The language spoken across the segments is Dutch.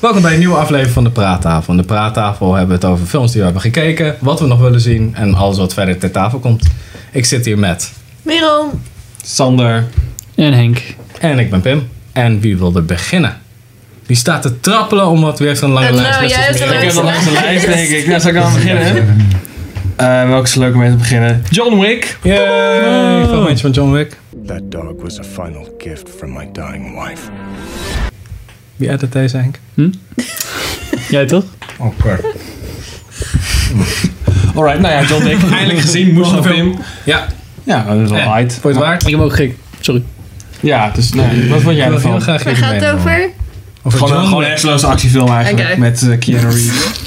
Welkom bij een nieuwe aflevering van de Praattafel. In de Praattafel hebben we het over films die we hebben gekeken, wat we nog willen zien en alles wat verder ter tafel komt. Ik zit hier met Merel. Sander En Henk. en ik ben Pim. En wie wil er beginnen? Die staat te trappelen omdat wie heeft een lange En, lijst. nou, net jij zoals hebt een Merel. Ik heb Leukste nog langs lijst. een lijst, denk ik. Nou, zal ik dan beginnen? Eh, welke is leuk om mee te beginnen? John Wick. Yay! Veel mensen van Oh, John Wick. That dog was a final gift from my dying wife. Wie edit deze Henk? Jij toch? Oh, kort. Alright, nou ja, John Wick. Eindelijk gezien, moest nog Pim. Ja, Ja, dat is eh, al uit. voor het waard. Ik heb ook gek. Sorry. Ja, dus nee, wat vond Ik jij wil heel ervan? graag Waar jullie gaat het mening horen. over? Over Gewoon een John gewoon een Wick. hersenloze actiefilm eigenlijk, Oké. met eh, Keanu Reeves.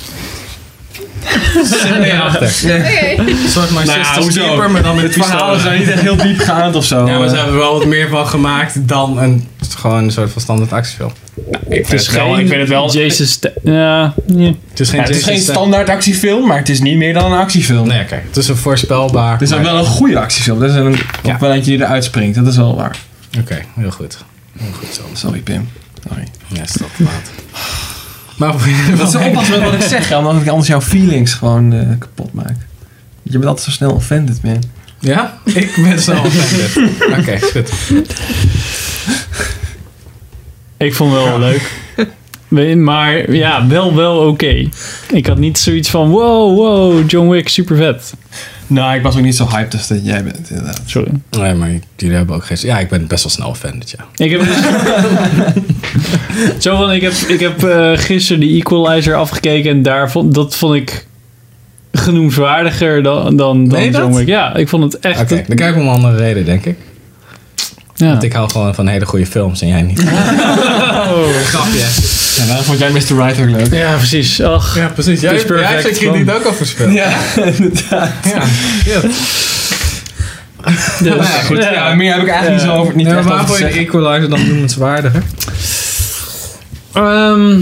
Zit er achter. Oké. Een soort My Nou ja, Sister's hoezo? Keeper, maar dan met Het verhaal is pistolen. nou niet echt heel diep gaand of zo. Ja, maar ze hebben er wel wat meer van gemaakt dan een, gewoon een soort van standaard actiefilm. ik, vind het wel, geen ik vind het wel... Jezus. Sta- Ja, nee. Het is geen, Ja, het is Jason geen Statham. standaard actiefilm, maar het is niet meer dan een actiefilm. Nee, kijk, het is een voorspelbaar. Het is ook maar- wel een goede actiefilm. Dat is een, Ja. ook wel eentje die eruit springt. Dat is wel waar. Oké, heel goed. Heel goed zo. Sorry, Pim. Sorry. Ja, is dat laat. Maar voor je Dat is oppassen met wat ik zeg, ja, omdat ik anders jouw feelings gewoon eh, kapot maak. Je bent altijd zo snel offended, man. Ja? Ik ben zo offended. dus. Oké, is goed. Ik vond het wel leuk. We- Maar ja, wel wel oké. Ik had niet zoiets van wow, wow, John Wick, super vet. Nou, ik was ook niet zo hyped als dat jij bent, inderdaad. Sorry. Nee, maar jullie hebben ook geen... Ja, ik ben best wel snel offended, ja. Ik heb dus... Zo van, ik heb, ik heb eh, gisteren de Equalizer afgekeken en daar vond, dat vond ik genoemswaardiger dan, dan, dan Meen je John dat? Wick. Ja, ik vond het echt... Oké, dan kijk ik om een andere reden, denk ik. ja. Want ik hou gewoon van hele goede films en jij niet. Oh. Grapje. Ja, daarom vond jij Mr. Right ook leuk. ja, precies. Ach, Ja, precies. Jij- jij hebt zijn krediet ook al verspeeld. Ja. Ja, inderdaad. Ja. dus- Nou ja, Goed, ja. meer heb ik eigenlijk Ja. niet zo over, niet Nee, maar echt over te waarvoor je de zeggen. Equalizer dan noemenswaardiger? Ehm,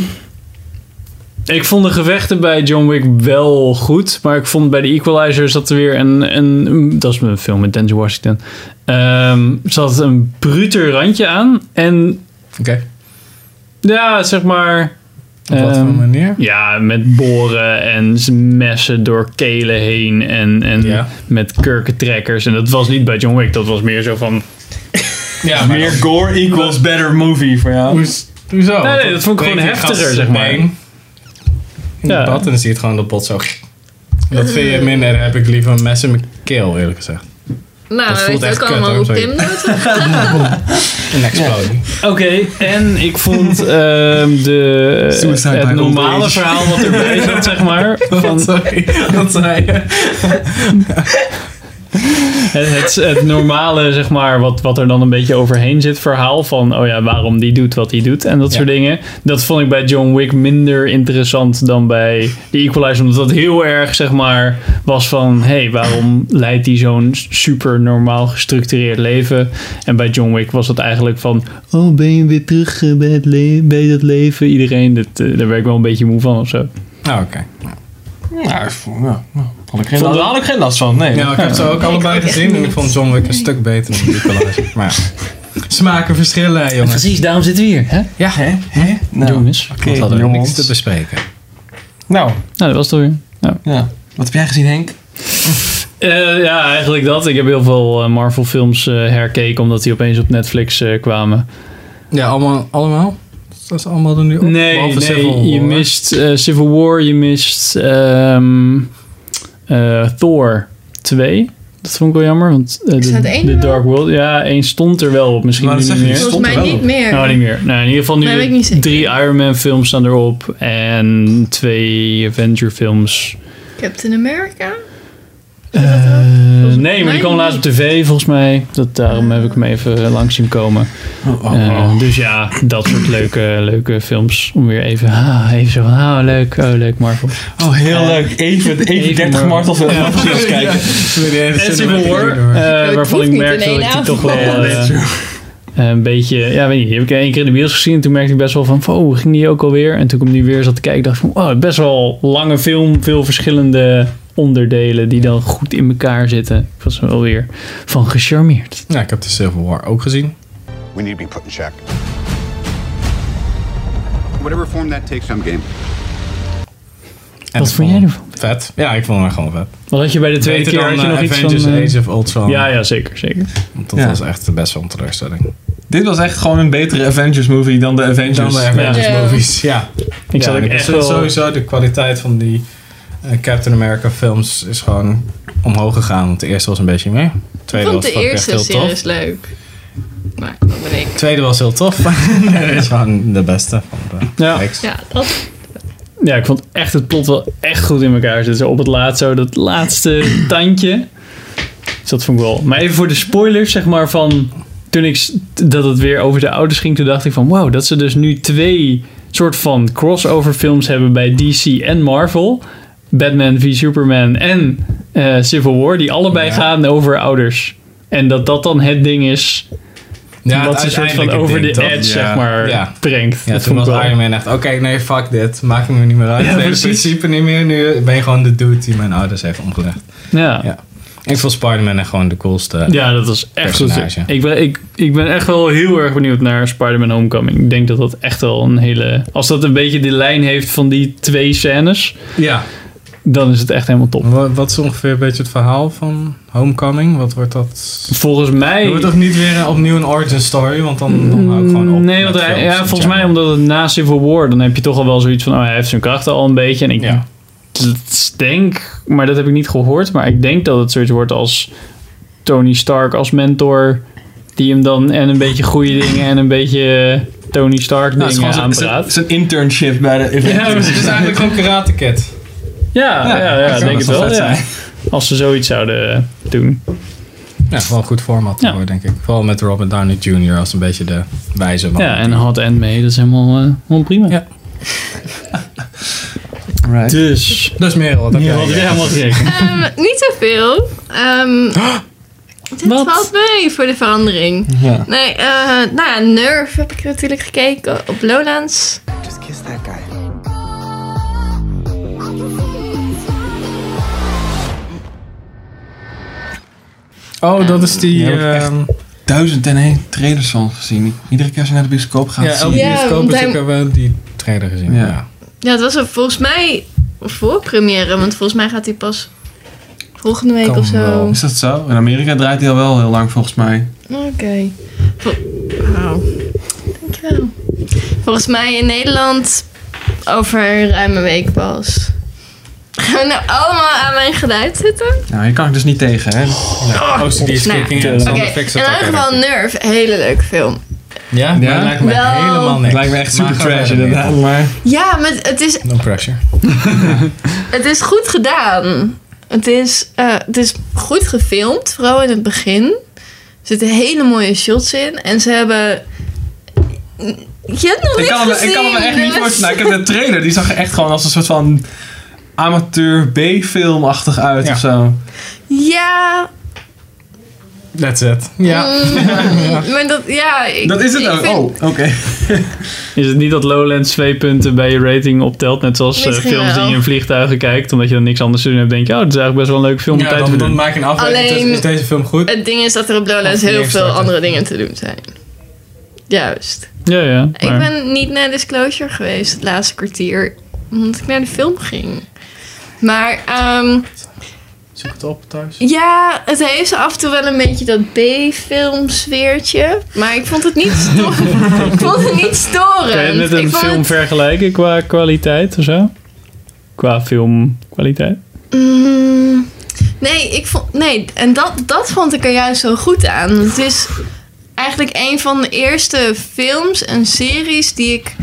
ik vond de gevechten bij John Wick wel goed. Maar ik vond bij de Equalizer zat er weer een... een dat is mijn film met Denzel Washington. Ehm zat een bruter randje aan. En Oké. ja, zeg maar... Op wat voor ehm, manier? Ja, met boren en z- messen door kelen heen. En, en Ja. met kurkentrekkers. En dat was niet bij John Wick. Dat was meer zo van... Ja, Meer gore equals better movie voor jou. Hoezo? Nee, nee, dat vond ik gewoon Weet je, heftiger, gast zeg maar. been In Ja. het bad en dan zie je het gewoon dat bot zo. Dat vind je minder, heb ik liever een mes in mijn keel, eerlijk gezegd. Nou, Dat we voelt weten echt ook kut, allemaal hoe hoor, Tim doet. Een explosie. Oké, en ik vond ehm, de, Suicide by het old normale age. verhaal wat erbij zat, zeg maar. Van Sorry, dat zei je. het, het, het normale, zeg maar, wat, wat er dan een beetje overheen zit verhaal. Van, oh ja, waarom die doet wat hij doet en dat Ja. soort dingen. Dat vond ik bij John Wick minder interessant dan bij The Equalizer. Omdat dat heel erg, zeg maar, was van... Hé, hey, waarom leidt hij zo'n super normaal gestructureerd leven? En bij John Wick was dat eigenlijk van... Oh, ben je weer terug eh, bij, het le- bij dat leven? Iedereen, dat, eh, daar werd ik wel een beetje moe van of zo. Nou, oké. Ja, ik vond- ja, nou, had ik geen, Vond last, dat- had ik geen last van, nee. Nou, ik heb ze ook allebei gezien en ik vond John Wick een stuk beter dan die collage. Maar ja. Smaken verschillen, jongens. Precies, daarom zitten we hier, hè? Ja, hè? Nou, Jongens. oké, Dat hadden we niks jongens. te bespreken. Nou, Nou, dat was het weer. ja. Wat heb jij gezien, Henk? Eh, ja, eigenlijk dat. Ik heb heel veel eh, Marvel-films eh, herkeken omdat die opeens op Netflix eh, kwamen. Ja, allemaal? allemaal? Dat is allemaal er nu op. Nee, Behalve nee Civil War. je mist eh, Civil War, je mist ehm, eh, Thor 2. Dat vond ik wel jammer, want eh, Staat de, één de er wel Dark World... Ja, één stond er wel op, misschien Maar nu dat niet zeg je, meer. stond Volgens er mij wel niet op. meer. Nou, niet meer. Nou, in ieder geval Maar nu weet ik niet zeker. drie Iron Man films staan erop en twee Avenger films. Captain America? Eh, mij nee, maar die kwam niet. laatst op tv volgens mij. Dat, daarom heb ik hem even eh, langs zien komen. Eh, dus ja, dat soort leuke, leuke films. Om weer even, ah, even zo van, ah, leuk, oh, leuk, Marvel. Oh, heel leuk. Even, even eh, Even 30 maar- martels en even films kijken. En Civil War, eh, Het waarvan hoeft ik niet merkte in één dat ik die avond. toch wel eh, een beetje... Ja, weet je, die heb ik één keer in de bios gezien. En toen merkte ik best wel van, wow, ging die ook alweer? En toen ik hem nu weer zat te kijken, dacht ik van, wow, best wel lange film. Veel verschillende onderdelen die dan goed in elkaar zitten. Ik was er wel weer van gecharmeerd. Ja, ik heb de Civil War ook gezien. We need to be put in check. Whatever form that takes, I'm game. En Wat ik vond jij ervan? Vet. Ja, ik vond haar gewoon vet. Wat had je bij de tweede Beter keer? dan had je nog eh, iets Avengers van, eh, Age of Ultron. ja, ja, zeker, zeker. Want dat Ja. was echt best wel een teleurstelling. Dit was echt gewoon een betere Avengers movie dan de Avengers. Dan eh, de Avengers Ja. movies. Dus Ja. eh, Ik ja, zat ook en ik echt vind wel... Sowieso de kwaliteit van die eh, Captain America films is gewoon omhoog gegaan. Want de eerste was een beetje meer. Ik Tweede vond was de ook eerste echt heel serie tof. is leuk. Maar dat ben ik. Tweede was heel tof. nee, dat is gewoon de beste van de Ja. reeks. Ja, dat, Ja, ik vond echt het plot wel echt goed in elkaar zitten. Zo Op het laatst zo dat laatste tandje. Dus dat vond ik wel. Maar even voor de spoilers, zeg maar, van toen ik s- dat het weer over de ouders ging, toen dacht ik van wow, dat ze dus nu twee soort van crossover films hebben bij DC en Marvel. Batman v Superman en eh, Civil War, die allebei Ja. gaan over ouders. En dat dat dan het ding is Ja, wat het ze een soort van uiteindelijke over de ding, toch? edge, zeg Ja. maar, Ja. brengt. Ja, dat toen vond ik was wel. Iron Man echt, oké, nee, fuck dit. Maakt me niet meer uit. Ja, Het hele precies. principe niet meer. Nu ben je gewoon de dude die mijn ouders heeft omgelegd. Ja. Ja. Ik vond Spider-Man echt gewoon de coolste. Ja, dat was echt goed. Personage. Ik ben, ik, ik ben echt wel heel erg benieuwd naar Spider-Man Homecoming. Ik denk dat dat echt wel een hele... Als dat een beetje de lijn heeft van die twee scènes, Ja. dan is het echt helemaal top. Wa- Wat is ongeveer een beetje het verhaal van Homecoming? Wat wordt dat? Volgens mij... Er wordt toch niet weer opnieuw een origin story? Want dan, dan hou ik gewoon op. Nee, met want hij, films ja, in volgens mij general. omdat het na Civil War, dan heb je toch al wel zoiets van, oh, hij heeft zijn krachten al een beetje. En ik Ja. dat denk, maar dat heb ik niet gehoord, maar ik denk dat het zoiets wordt als Tony Stark als mentor, die hem dan en een beetje goede dingen en een beetje eh, Tony Stark Nou, het is dingen gewoon zo'n- aanpraat. zo'n- zo'n internship bij de Ja, Avengers. Het is eigenlijk gewoon Karate Kid. Ja, ja, ja, dat denk zou ik wel wel. vet Ja. zijn. Als ze zoiets zouden doen. Ja, wel een goed format Ja. hoor, denk ik. Vooral met Robert Downey Jr. als een beetje de wijze man. Ja, en hot end mee, dat is helemaal, eh, helemaal prima. Ja. Right. Dus, Dus Merel, wat heb jij? wat heb jij allemaal gekeken? Ehm, niet zoveel. Ehm dit Wat? valt mee voor de verandering. Ja. Nee, eh, nou ja, Nerf heb ik natuurlijk gekeken op Lowlands. Just kiss that guy. Oh, dat is die... Ja, heb ik echt- ehm, Duizend en één trailers van gezien. Iedere keer als je naar de bioscoop gaat, Ja, zie elke je- Ja, bioscoop want is hij- ook wel die trailer gezien. Ja. Ja. Ja, het was een, volgens mij een voorpremière, want volgens mij gaat hij pas volgende week Kan of zo. wel. Oké. Is dat zo? In Amerika draait hij al wel heel lang volgens mij. Vol- Wauw. Dankjewel. Volgens mij in Nederland over ruim een week pas. Gaan we nou allemaal aan mijn geluid zitten? Nou, hier kan ik dus niet tegen, hè? Oh, Oh. Ja. OCD is Nou ja. kicking in. Oké, Sander in fix het ieder ook geval even. Nerf, hele leuke film. Ja? Ja? Dat lijkt me Wel- helemaal niks. Lijkt me echt Maar super ga trash verder, inderdaad, maar... Ja, maar het is, Merel. No pressure. het is goed gedaan. Het is, eh, het is goed gefilmd, vooral in het begin. Er zitten hele mooie shots in. En ze hebben... Je hebt nog Ik niet kan, me, gezien. ik kan me echt niet dus- voorstellen. Nou, Ik heb de trailer, die zag er echt gewoon als een soort van amateur B-filmachtig uit Ja. of zo. Ja, That's it. Mm, Ja. maar dat... Ja, ik, Dat is het ik ook. vind- Oh, oké. Is het niet dat Lowlands twee punten bij je rating optelt? Net zoals eh, Misschien films die wel. je in vliegtuigen kijkt, omdat je dan niks anders te doen hebt. Denk je, oh, het is eigenlijk best wel een leuke film om Ja, tijd te dan, dan doen. maak ik een afweging. Alleen- tussen, Is deze film goed? Het ding is dat er op Lowlands Of heel veel neerstarten. andere dingen te doen zijn. Juist. Ja, ja. Ik maar- ben niet naar Disclosure geweest het laatste kwartier, omdat ik naar de film ging. Maar ehm, Zoek het op thuis. ja, het heeft af en toe wel een beetje dat B-film sfeertje. Maar ik vond het niet storend. ik vond het niet storend. Kan je het met eh, ik een vond film het- vergelijken qua kwaliteit of zo? Qua filmkwaliteit? Mm, nee, ik vond, nee, en dat, dat vond ik er juist zo goed aan. Het is eigenlijk een van de eerste films en series die ik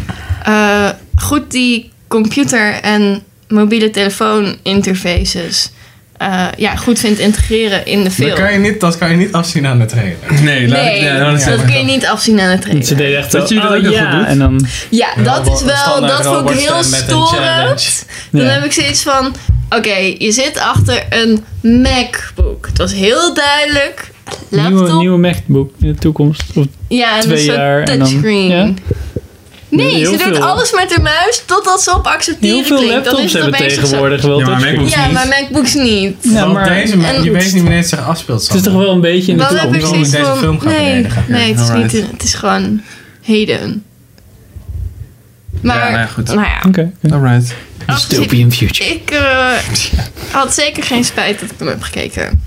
eh, goed die computer en mobiele telefoon interfaces eh, ja, goed vind integreren in de film. Dat kan, je niet, dat kan je niet afzien aan de trailer. Nee, laat Nee, ik... Ja, dat is dat echt- kun je niet afzien aan het Ze trailer. deden echt Dat zo, je dat oh, ook nog ja. goed doet? En dan, Ja, dat is Robot- wel, standaard dat vond ik robot heel stem met een storend. challenge. Dan Ja. heb ik zoiets van, oké, je zit achter een MacBook. Het was heel duidelijk. Laptop. nieuwe, nieuwe MacBook in de toekomst. Of, ja, en een twee jaar soort en dan- touchscreen. ja. Nee, Heel ze doet veel. alles met haar muis totdat ze op accepteren heel veel klinkt. Dan is laptops het hebben opeens een tegenwoordig wel Ja, maar touchscreen. MacBook- soort- Ja, maar MacBooks niet. Ja, Want maar deze, man- en- je weet niet wanneer het zich afspeelt. het is toch wel een beetje in de Dan heb ik toekomst. Waarom zoiets deze van, film gaat nee, beneden gaan. nee, het is, Alright. niet, het is gewoon heden. Maar, Ja, nou ja, goed. nou ja, Oké. Alright. Dystopian future. ik eh, had zeker geen spijt dat ik hem heb gekeken.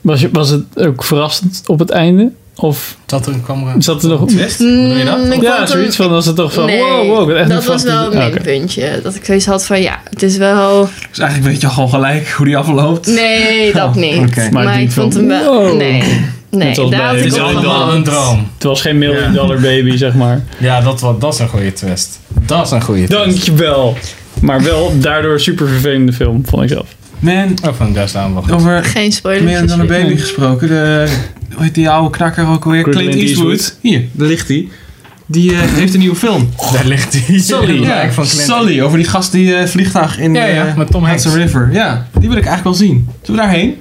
Was, je, was het ook verrassend op het einde? Of Zat er een camera? zat er nog... Twist? Bedoel je Mm, dat? ik vond Ja, hem- zoiets van was het toch van Nee, wow, wow. ik ben echt dat niet was verrast. wel een Ah, oké. minpuntje. Dat ik zoiets had van ja, het is wel... Dus eigenlijk weet je gewoon gelijk hoe die afloopt. Nee, dat Oh, niet. oké. Maar, Maar ik denk ik vond van, hem wel... wow. Nee, nee Net als daar bij- had Het ik is op allemaal gewacht. een droom. Het was geen million dollar baby, zeg maar. Ja, dat, wa- dat is een goede twist. Dat is een goede twist. Dankjewel. Maar wel daardoor super vervelende film, vond ik zelf. Man, Ook Oh, van Just Down wel goed. over Geen meer spoilers. dan een baby gesproken. De, hoe heet die oude knakker ook alweer? Clint Clint, Eastwood. Eastwood. Hier, daar ligt hij. Die eh, heeft een nieuwe film. Oh. Daar ligt hij. Sully. Ja, ik van Clint. Sully, over die gast die eh, vliegtuig in Ja, ja, eh, met Tom Hanks. Hudson River. Ja, die wil ik eigenlijk wel zien. Zullen we daarheen?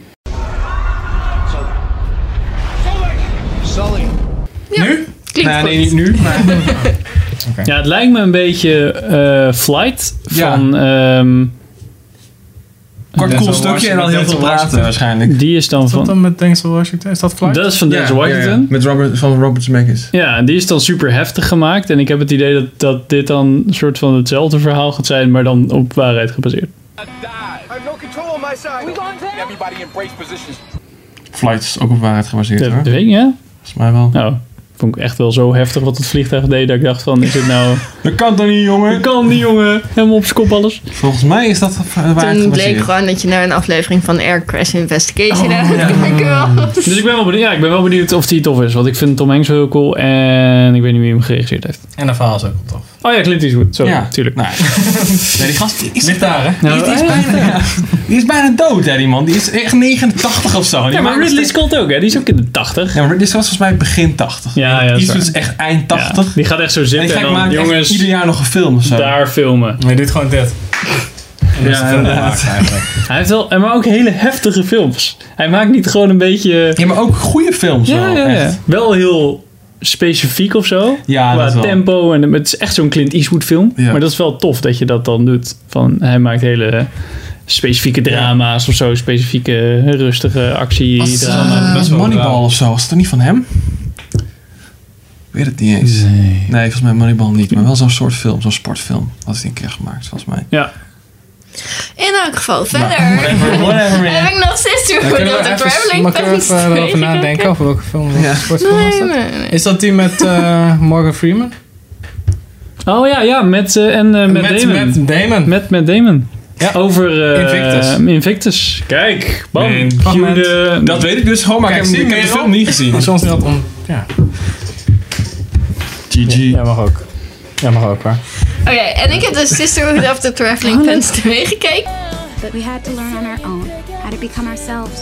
Nu? Klinkt Nou, goed. nee, niet nu. Maar Ja, het lijkt me een beetje eh, Flight Ja. van... ehm, kort Denzel cool stukje en Washington, dan heel Denzel veel praten Washington. waarschijnlijk. die is dan Is dat van... dan met Denzel Washington? Is dat Flight? Dat is van Denzel Ja, ja, ja. Washington. Met Robert, van Robert Zemeckis. Ja, en die is dan super heftig gemaakt. En ik heb het idee dat, dat dit dan een soort van hetzelfde verhaal gaat zijn, maar dan op waarheid gebaseerd. I have no control on my side. We going down? Everybody in brace positions. Flight is ook op waarheid gebaseerd De, hoor. de ding, ja? Volgens mij wel. Nou, vond ik echt wel zo heftig wat het vliegtuig deed, dat ik dacht van, is dit nou... Dat kan toch niet jongen? Dat kan die jongen, helemaal op zijn kop alles. Volgens mij is dat op waarheid Toen bleek gebaseerd. gewoon dat je naar een aflevering van Air Crash Investigation Oh, aan het kijken was. Dus ik ben wel benieuwd, ja, ik ben wel benieuwd of die tof is, want ik vind Tom Hanks heel cool en ik weet niet wie hem geregisseerd heeft. En dat verhaal is ook wel tof. Oh ja, Clint Eastwood, sorry, Ja. tuurlijk. Nou, ja, die gast die is, Ligt daar, hè? Nou, die is bijna, ja, die is bijna dood hè die man. Die is echt 89 of zo. Die ja, maar maakt Ridley steeds- Scott ook, hè? Die is ook in de 80. Ja, maar Ridley Scott was volgens mij begin 80. Ja, ja, dat is Eastwood waar. is echt eind Ja, 80. die gaat echt zo En zitten die en, gek dan, maakt echt jongens, ieder jaar nog een film of zo. daar filmen. Nee, dit gewoon dit. En dat is Ja, de film inderdaad. gemaakt eigenlijk. Hij heeft wel, maar ook hele heftige films. Hij maakt niet gewoon een beetje... Ja, maar ook goede films Ja, wel. ja, ja. echt. Wel heel specifiek of zo. Ja, qua dat wel. tempo. En, het is echt zo'n Clint Eastwood film. Ja. Maar dat is wel tof dat je dat dan doet. Van, hij maakt hele specifieke drama's of zo. Specifieke eh, rustige actie. Als, drama. eh, best wel Moneyball raar. of zo, was het er niet van hem? Ik weet het niet eens. Nee. Nee, volgens mij Moneyball niet, maar wel zo'n soort film, zo'n sportfilm. Dat is die een keer gemaakt, volgens mij. Ja, In elk geval, verder Nou, Whatever, heb ik nog steeds te Dan kunnen dat we de even, traveling maar kunnen we even erover nadenken over welke film dat Ja. sportfilm was dat? nee, nee. Is dat die met eh, Morgan Freeman? Oh ja, ja. Met, eh, en eh, met, Damon. Met, Met Damon. met, Damon. Ja. Over eh, Invictus. Invictus. Kijk, bam. Nee, Cue fragment. de- Dat weet ik dus gewoon, maar Kijk, ik heb, zie ik heb de je film niet gezien. Soms is dat om... Ja. GG. Jij mag ook. Jij mag ook, hoor. Oké, en ik heb dus Sisterhood of the Traveling Pants 2 gekeken. But we had to learn on our own how to become ourselves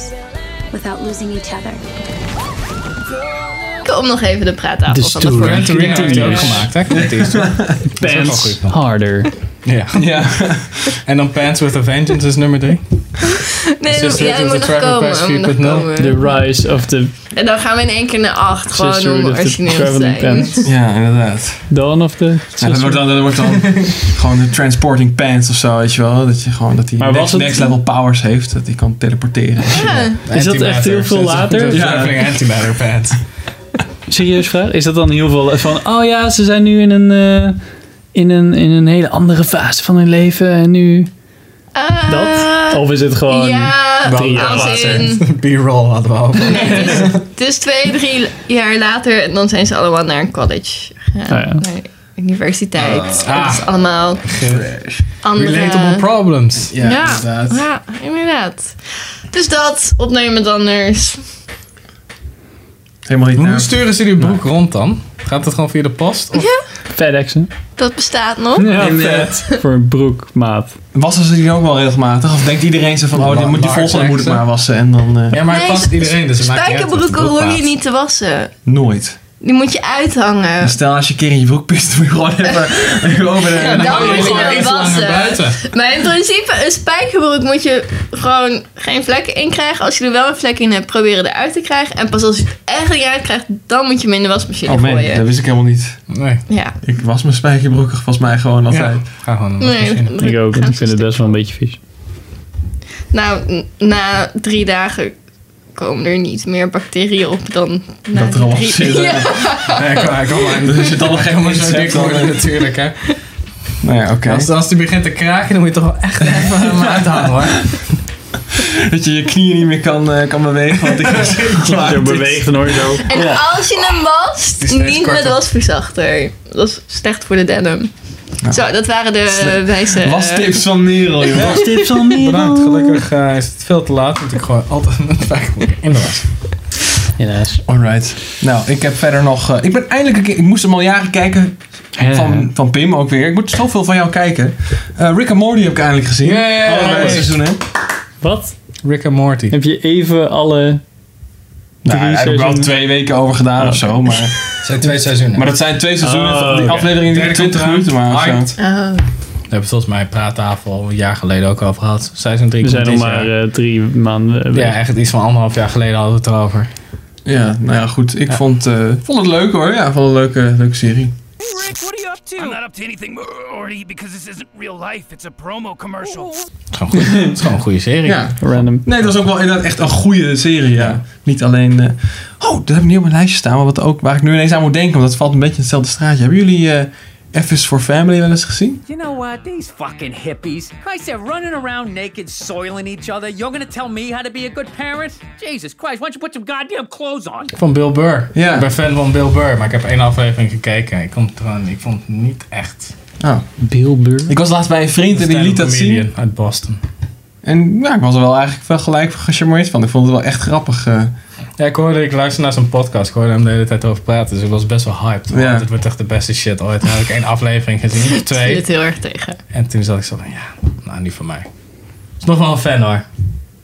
without losing each other. Om nog even de praattafel Dus van de toen, vorige Gran keer Torino heeft hij ook Yes. gemaakt, hè? Clint Eastwood. Dat is ook wel goed, Pants man. harder. Ja. Ja. En dan Pants with a Vengeance is nummer drie. Nee, dat Sisterhood ja, dat of moet the nog Traveling komen. Pants dat moet nog 4.0. komen. The rise of the En dan gaan we in één keer naar 8, gewoon Sisterhood om of the origineel te Traveling zijn. Pants. ja, inderdaad. Dawn of the... Ja, dat wordt dan, dat wordt dan gewoon de transporting pants of zo, weet je wel. Dat je gewoon, dat hij Maar was next, het- next level powers heeft, dat hij kan teleporteren. Ja. Is dat echt heel veel later? Ja. Ja. Traveling Antimatter Pants. Serieus vraag? Is dat dan heel veel van... Oh ja, ze zijn nu in een, eh, in een, in een hele andere fase van hun leven. En nu... Eh, Dat? Of is het gewoon... Ja, drie jaar als later. in... B-roll hadden we al. Het is twee, drie jaar later en dan zijn ze allemaal naar een college. Ja, ja. Naar de universiteit. dat is ah. allemaal andere... Relatable problems. Ja, Ja. inderdaad. Ja, inderdaad. Dus dat, opnemen dus. met anders. Helemaal niet Hoe naar- sturen ze die broek rond dan? Gaat het gewoon via de post? Of FedExen. Dat bestaat nog. Ja, En, eh, vet. Voor een broekmaat. Wassen ze die ook wel regelmatig? Of denkt iedereen zo van, oh, die, La- moet die laars volgende moet ik wassen. maar wassen. En dan eh, Ja, maar het Nee, past iedereen, dus het maakt niet uit of het Spijkerbroeken broek hoor je laat. niet te wassen. nooit. Die moet je uithangen. En stel als je een keer in je broek pist, moet je gewoon even even over de... dan hang je moet je gewoon wel iets langer wassen. buiten. Maar in principe, een spijkerbroek moet je gewoon geen vlekken in krijgen. Als je er wel een vlek in hebt, probeer het eruit te krijgen. En pas als je het echt niet uit krijgt, dan moet je hem in de wasmachine Oh man, dat gooien. wist ik helemaal niet. Nee. Ja. Ik was mijn spijkerbroeken volgens mij gewoon Ja. altijd. Ga gewoon naar de Nee, machine. dat- Ik ook, want ik vind het dat- best wel een beetje vies. Nou, n- na drie dagen komen er niet meer bacteriën op dan na Dat er die al drie zitten. Ja. Ja, kom maar, kom maar. Dus als je het allemaal Hij geen kan maar zo mensen dik hebt, dan... worden natuurlijk, hè. Nou ja, oké. Als, als die begint te kraken, dan moet je toch wel echt even hem uithangen hoor. Dat je je knieën niet meer kan, eh, kan bewegen. Want ik Zo beweegt en hoor je zo. En als je hem wast, is steeds niet met korter. wasverzachter. Dat is slecht voor de denim. Zo, dat waren de eh, wijze... eh, Was tips van Merel, joh. Was dit van Bedankt, gelukkig eh, is het veel te laat, want ik gooi altijd mijn twijfel in de was. Helaas. Alright. Nou, ik heb verder nog... eh, ik ben eindelijk een keer... Ik moest hem al jaren kijken. Van, van Pim ook weer. Ik moet zoveel van jou kijken. Eh, Rick and Morty heb ik eindelijk gezien. Yay! Allebei het seizoen, hè? Wat? Rick en Morty. Heb je even alle... Nou, daar heb ik wel seizoenen. twee weken over gedaan of zo. Maar, Het zijn twee seizoenen. maar dat zijn twee seizoenen. Oh, van die oké. afleveringen die Derde 20 komt minuten eraan. waren. of Hyped. zo. oh. Daar hebben we volgens mij praattafel een jaar geleden ook over gehad. Seizoen 3 We komt zijn nog dit maar jaar. eh, drie maanden. eh, Ja, echt iets van anderhalf jaar geleden hadden we het erover. Ja, nou ja, goed. Ik vond, eh, vond het leuk hoor. Ja, ik vond het een leuke, leuke serie. I'm not up to anything, Morty, because this isn't real life. It's a promo commercial. Het is gewoon, goed. het is gewoon een goede serie. Ja. Random. Nee, dat was ook wel inderdaad echt een goede serie, ja. Niet alleen... eh, oh, dat heb ik niet op mijn lijstje staan, maar wat ook, waar ik nu ineens aan moet denken, want dat valt een beetje in hetzelfde straatje. Hebben jullie eh F is for Family wel eens gezien? You know what? These fucking hippies. Christ, they're running around naked, soiling each other. You're gonna tell me how to be a good parent? Jesus Christ, why don't you put some goddamn clothes on? Van Bill Burr. Ja. Ik ben fan van Bill Burr, maar ik heb één aflevering gekeken. Ik, vond het gewoon, ik vond het niet echt. Oh. Bilbur. Ik was laatst bij een vriend en die liet dat Stand-up zien. comedian Uit Boston. En ja, ik was er wel eigenlijk wel gelijk gecharmeerd van. Ik vond het wel echt grappig. eh. Ja, ik hoorde, ik luisterde naar zijn podcast. Ik hoorde hem de hele tijd over praten, dus ik was best wel hyped. Ja. Want het wordt echt de beste shit ooit. Dan heb ik één aflevering gezien, of Ik zie twee. het heel erg tegen. En toen zat ik zo van, ja, nou, niet van mij. is nog wel een fan hoor.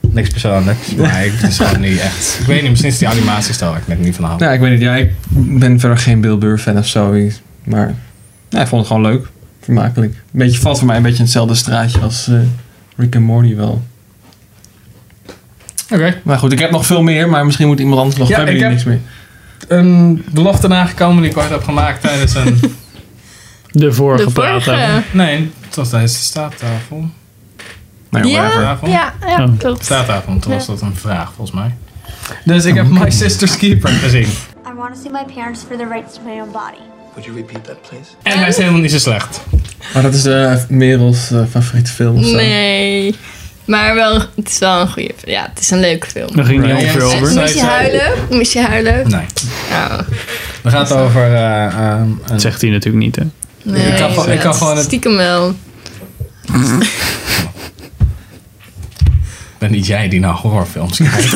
Niks persoonlijks, maar ik het is gewoon niet echt. Ik weet niet, misschien is die animatiestijl waar ik net niet van hou. nou, ik weet niet. Ja, ik ben verder geen Bill Burr fan of zo. ik- Maar ja, ik vond het gewoon leuk. Vermakelijk. Beetje valt voor mij een beetje in hetzelfde straatje als eh, Rick and Morty wel. Oké. Maar goed, ik heb nog veel meer, maar misschien moet iemand anders nog. Ja, hebben ik jullie heb- niks meer? Een belofte nagekomen die ik ooit heb gemaakt tijdens een... De vorige De vorige. praten. Nee, het was tijdens de staattafel. Nou, whatever. Ja, ja, ja, Oh. klopt. Staattafel, toen was dat een vraag volgens mij. Dus ik heb My Sister's Keeper gezien. I want to see my parents for the rights to my own body. En hij is helemaal niet zo slecht. Maar dat is eh Merels eh, favoriete film. of zo. Nee. Maar wel, het is wel een goede... Ja, het is een leuke film. Daar ging niet Right. ongeveer Yes. over. Zij Moest je zei- huilen? Moest je huilen? Nee. Nou, Het gaat over eh, ehm, een Dat zegt hij natuurlijk niet, hè. Oh, nee, Ik kan gewoon- ik kan dat gewoon het- Stiekem wel. Ben niet jij die naar horrorfilms kijkt?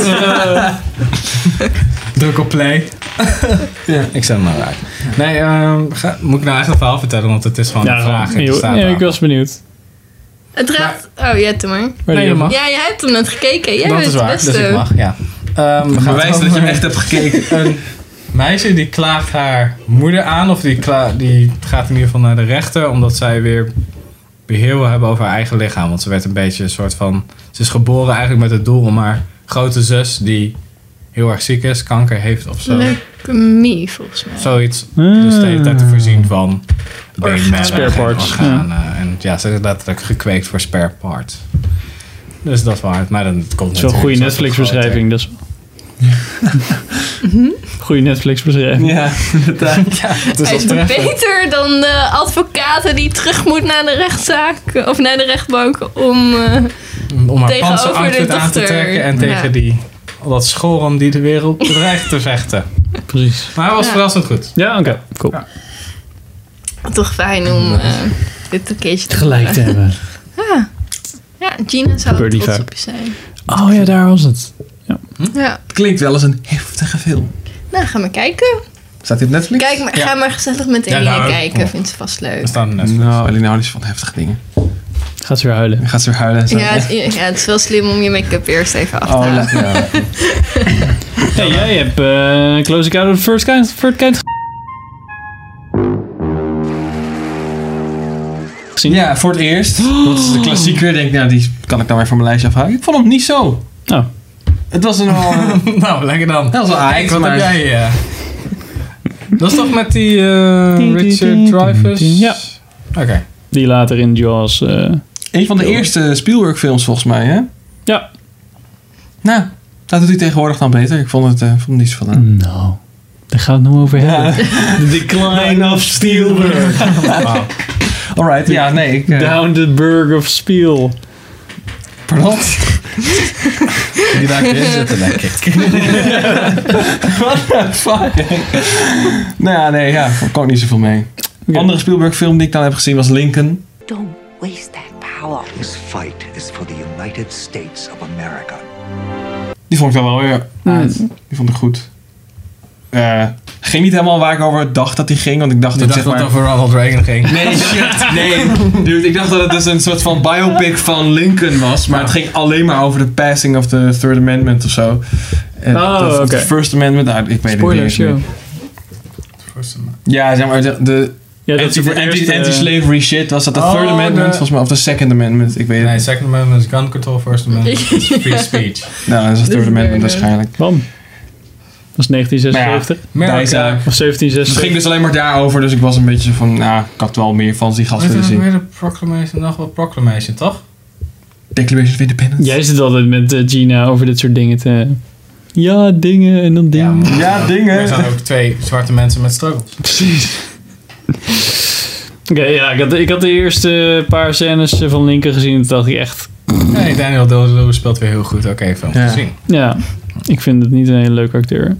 Druk op play. Ja. Ik zet hem maar uit. Nee, ehm, ga- moet ik nou echt een verhaal vertellen? Want het is gewoon een vraag. joh. Het staat Ja, daar. ik was benieuwd. Het draagt... Oh, ja, doe maar. Waar Nee, die- je mag. Ja, jij hebt hem net gekeken. Jij dat bent is waar, het beste. dus ik mag. Ja. Ehm, we gaan Bewijs het dat je hem over echt hebt gekeken. Een meisje die klaagt haar moeder aan. Of die, kla- die gaat in ieder geval naar de rechter. Omdat zij weer beheer wil hebben over haar eigen lichaam. Want ze werd een beetje een soort van... Ze is geboren eigenlijk met het doel om haar grote zus... die heel erg ziek is, kanker heeft of zo. Leukemie, volgens mij. Zoiets. Dus de hele tijd te voorzien van beenmerg Spare en parts, organen. En ja, ze is letterlijk gekweekt voor spare parts. Dus dat is waar. Maar dan komt Dat is wel een goede natuurlijk zo'n Netflix-beschrijving. Dat is... Mhm. goede Netflix-beschrijving. ja, inderdaad. grote- Het is wel Hij is treffend. beter dan de advocaten die terug moet naar de rechtszaak of naar de rechtbank om. eh, Om haar Tegenover panzeroutfit de aan te dochter. trekken en Ja. tegen die, al dat schorum die de wereld bedreigt te vechten. Precies. Maar hij was Ja. verrassend goed. Ja, oké. Cool. toch fijn om eh, dit een keertje te Gelijk te hebben. Ja, Gina zou er Gebeurt die trots vaak. op je zijn. Oh ja, daar was het. Ja, Het klinkt wel eens een heftige film. nou gaan we kijken. Staat hij op Netflix? Kijk, maar, Ja. Ga maar gezellig met Ja, Eline nou, kom kijken, op. vindt ze vast leuk. Er staat een Netflix. Nou, Eline houdt niet van heftige dingen. Gaat ze weer huilen. Dan gaat ze weer huilen en zo. Ja het, ja, het is wel slim om je make-up eerst even af te Oh, halen. la- ja. Hey, jij hebt eh Closing Out of the First Kind, first kind ge- gezien. ja, voor het eerst. Dat is de klassieker. Ik Denk, nou, die kan ik dan weer van mijn lijstje afhalen. Ik vond hem niet zo. Oh. Het was een wel... eh, nou, lekker dan. Dat was wel aardig, Kijk, wat maar- heb jij... eh? dat is toch met die eh, Richard Dreyfuss? Dus- Ja. Oké. Die later in Jaws. eh, Een van de eerste Spielberg films volgens mij, hè? Ja. Nou, dat doet hij tegenwoordig dan beter. Ik vond het, eh, vond het niet zo van aan. Nou, daar gaan we het nog over hebben. The Decline of Spielberg. Wauw. Alright, ja, nee. Ik, eh, Down the Burg of Spiel. pardon? Die laat ik erin zitten, denk ik. What the fuck? nou ja, nee, ja, daar kan ik niet zoveel mee. Een andere Spielberg film die ik dan heb gezien was Lincoln. Don't waste that power. This fight is for the United States of America. Die vond ik dan wel weer uit. Die vond ik goed. Eh, ging niet helemaal waar ik over dacht dat die ging, want ik dacht Je dat dacht zeg dat maar... het over Ronald Reagan ging. Nee, shit, nee. Dude, ik dacht dat het dus een soort van biopic van Lincoln was, maar het ging alleen maar over de passing of the Third Amendment of zo. En Oh, of oké. the First Amendment, nou, ik weet Spoilers, het niet. ja. eens meer. Ja, zeg maar, de, de Ja, dat is anti- voor het anti- eerst, eh, anti-slavery shit was dat de Oh, Third Amendment, de- volgens mij, of de Second Amendment, ik weet het Nee, niet. Second Amendment is gun control, First Amendment is free speech. Nou, dat is de Third eh, Amendment waarschijnlijk. Bam. Dat is 1976. Amerika. Dijzaak. Of Dus 1776. het ging dus alleen maar daarover, dus ik was een beetje van, nou, ik had wel meer van die gast Weet je willen nog zien. weer de Proclamation, nog wel Proclamation, toch? Declaration of Independence. Jij zit altijd met eh, Gina over dit soort dingen te... Ja, dingen en dan dingen. maar- Ja, dingen. Er zijn ook twee zwarte mensen met struggles. Precies. Oké, ja, ik had, ik had de eerste paar scènes eh, van Lincoln gezien. Toen dacht ik echt... Nee, Daniel Day-Lewis speelt weer heel goed. Oké, film Ja. gezien. Ja, ik vind het niet een hele leuke acteur.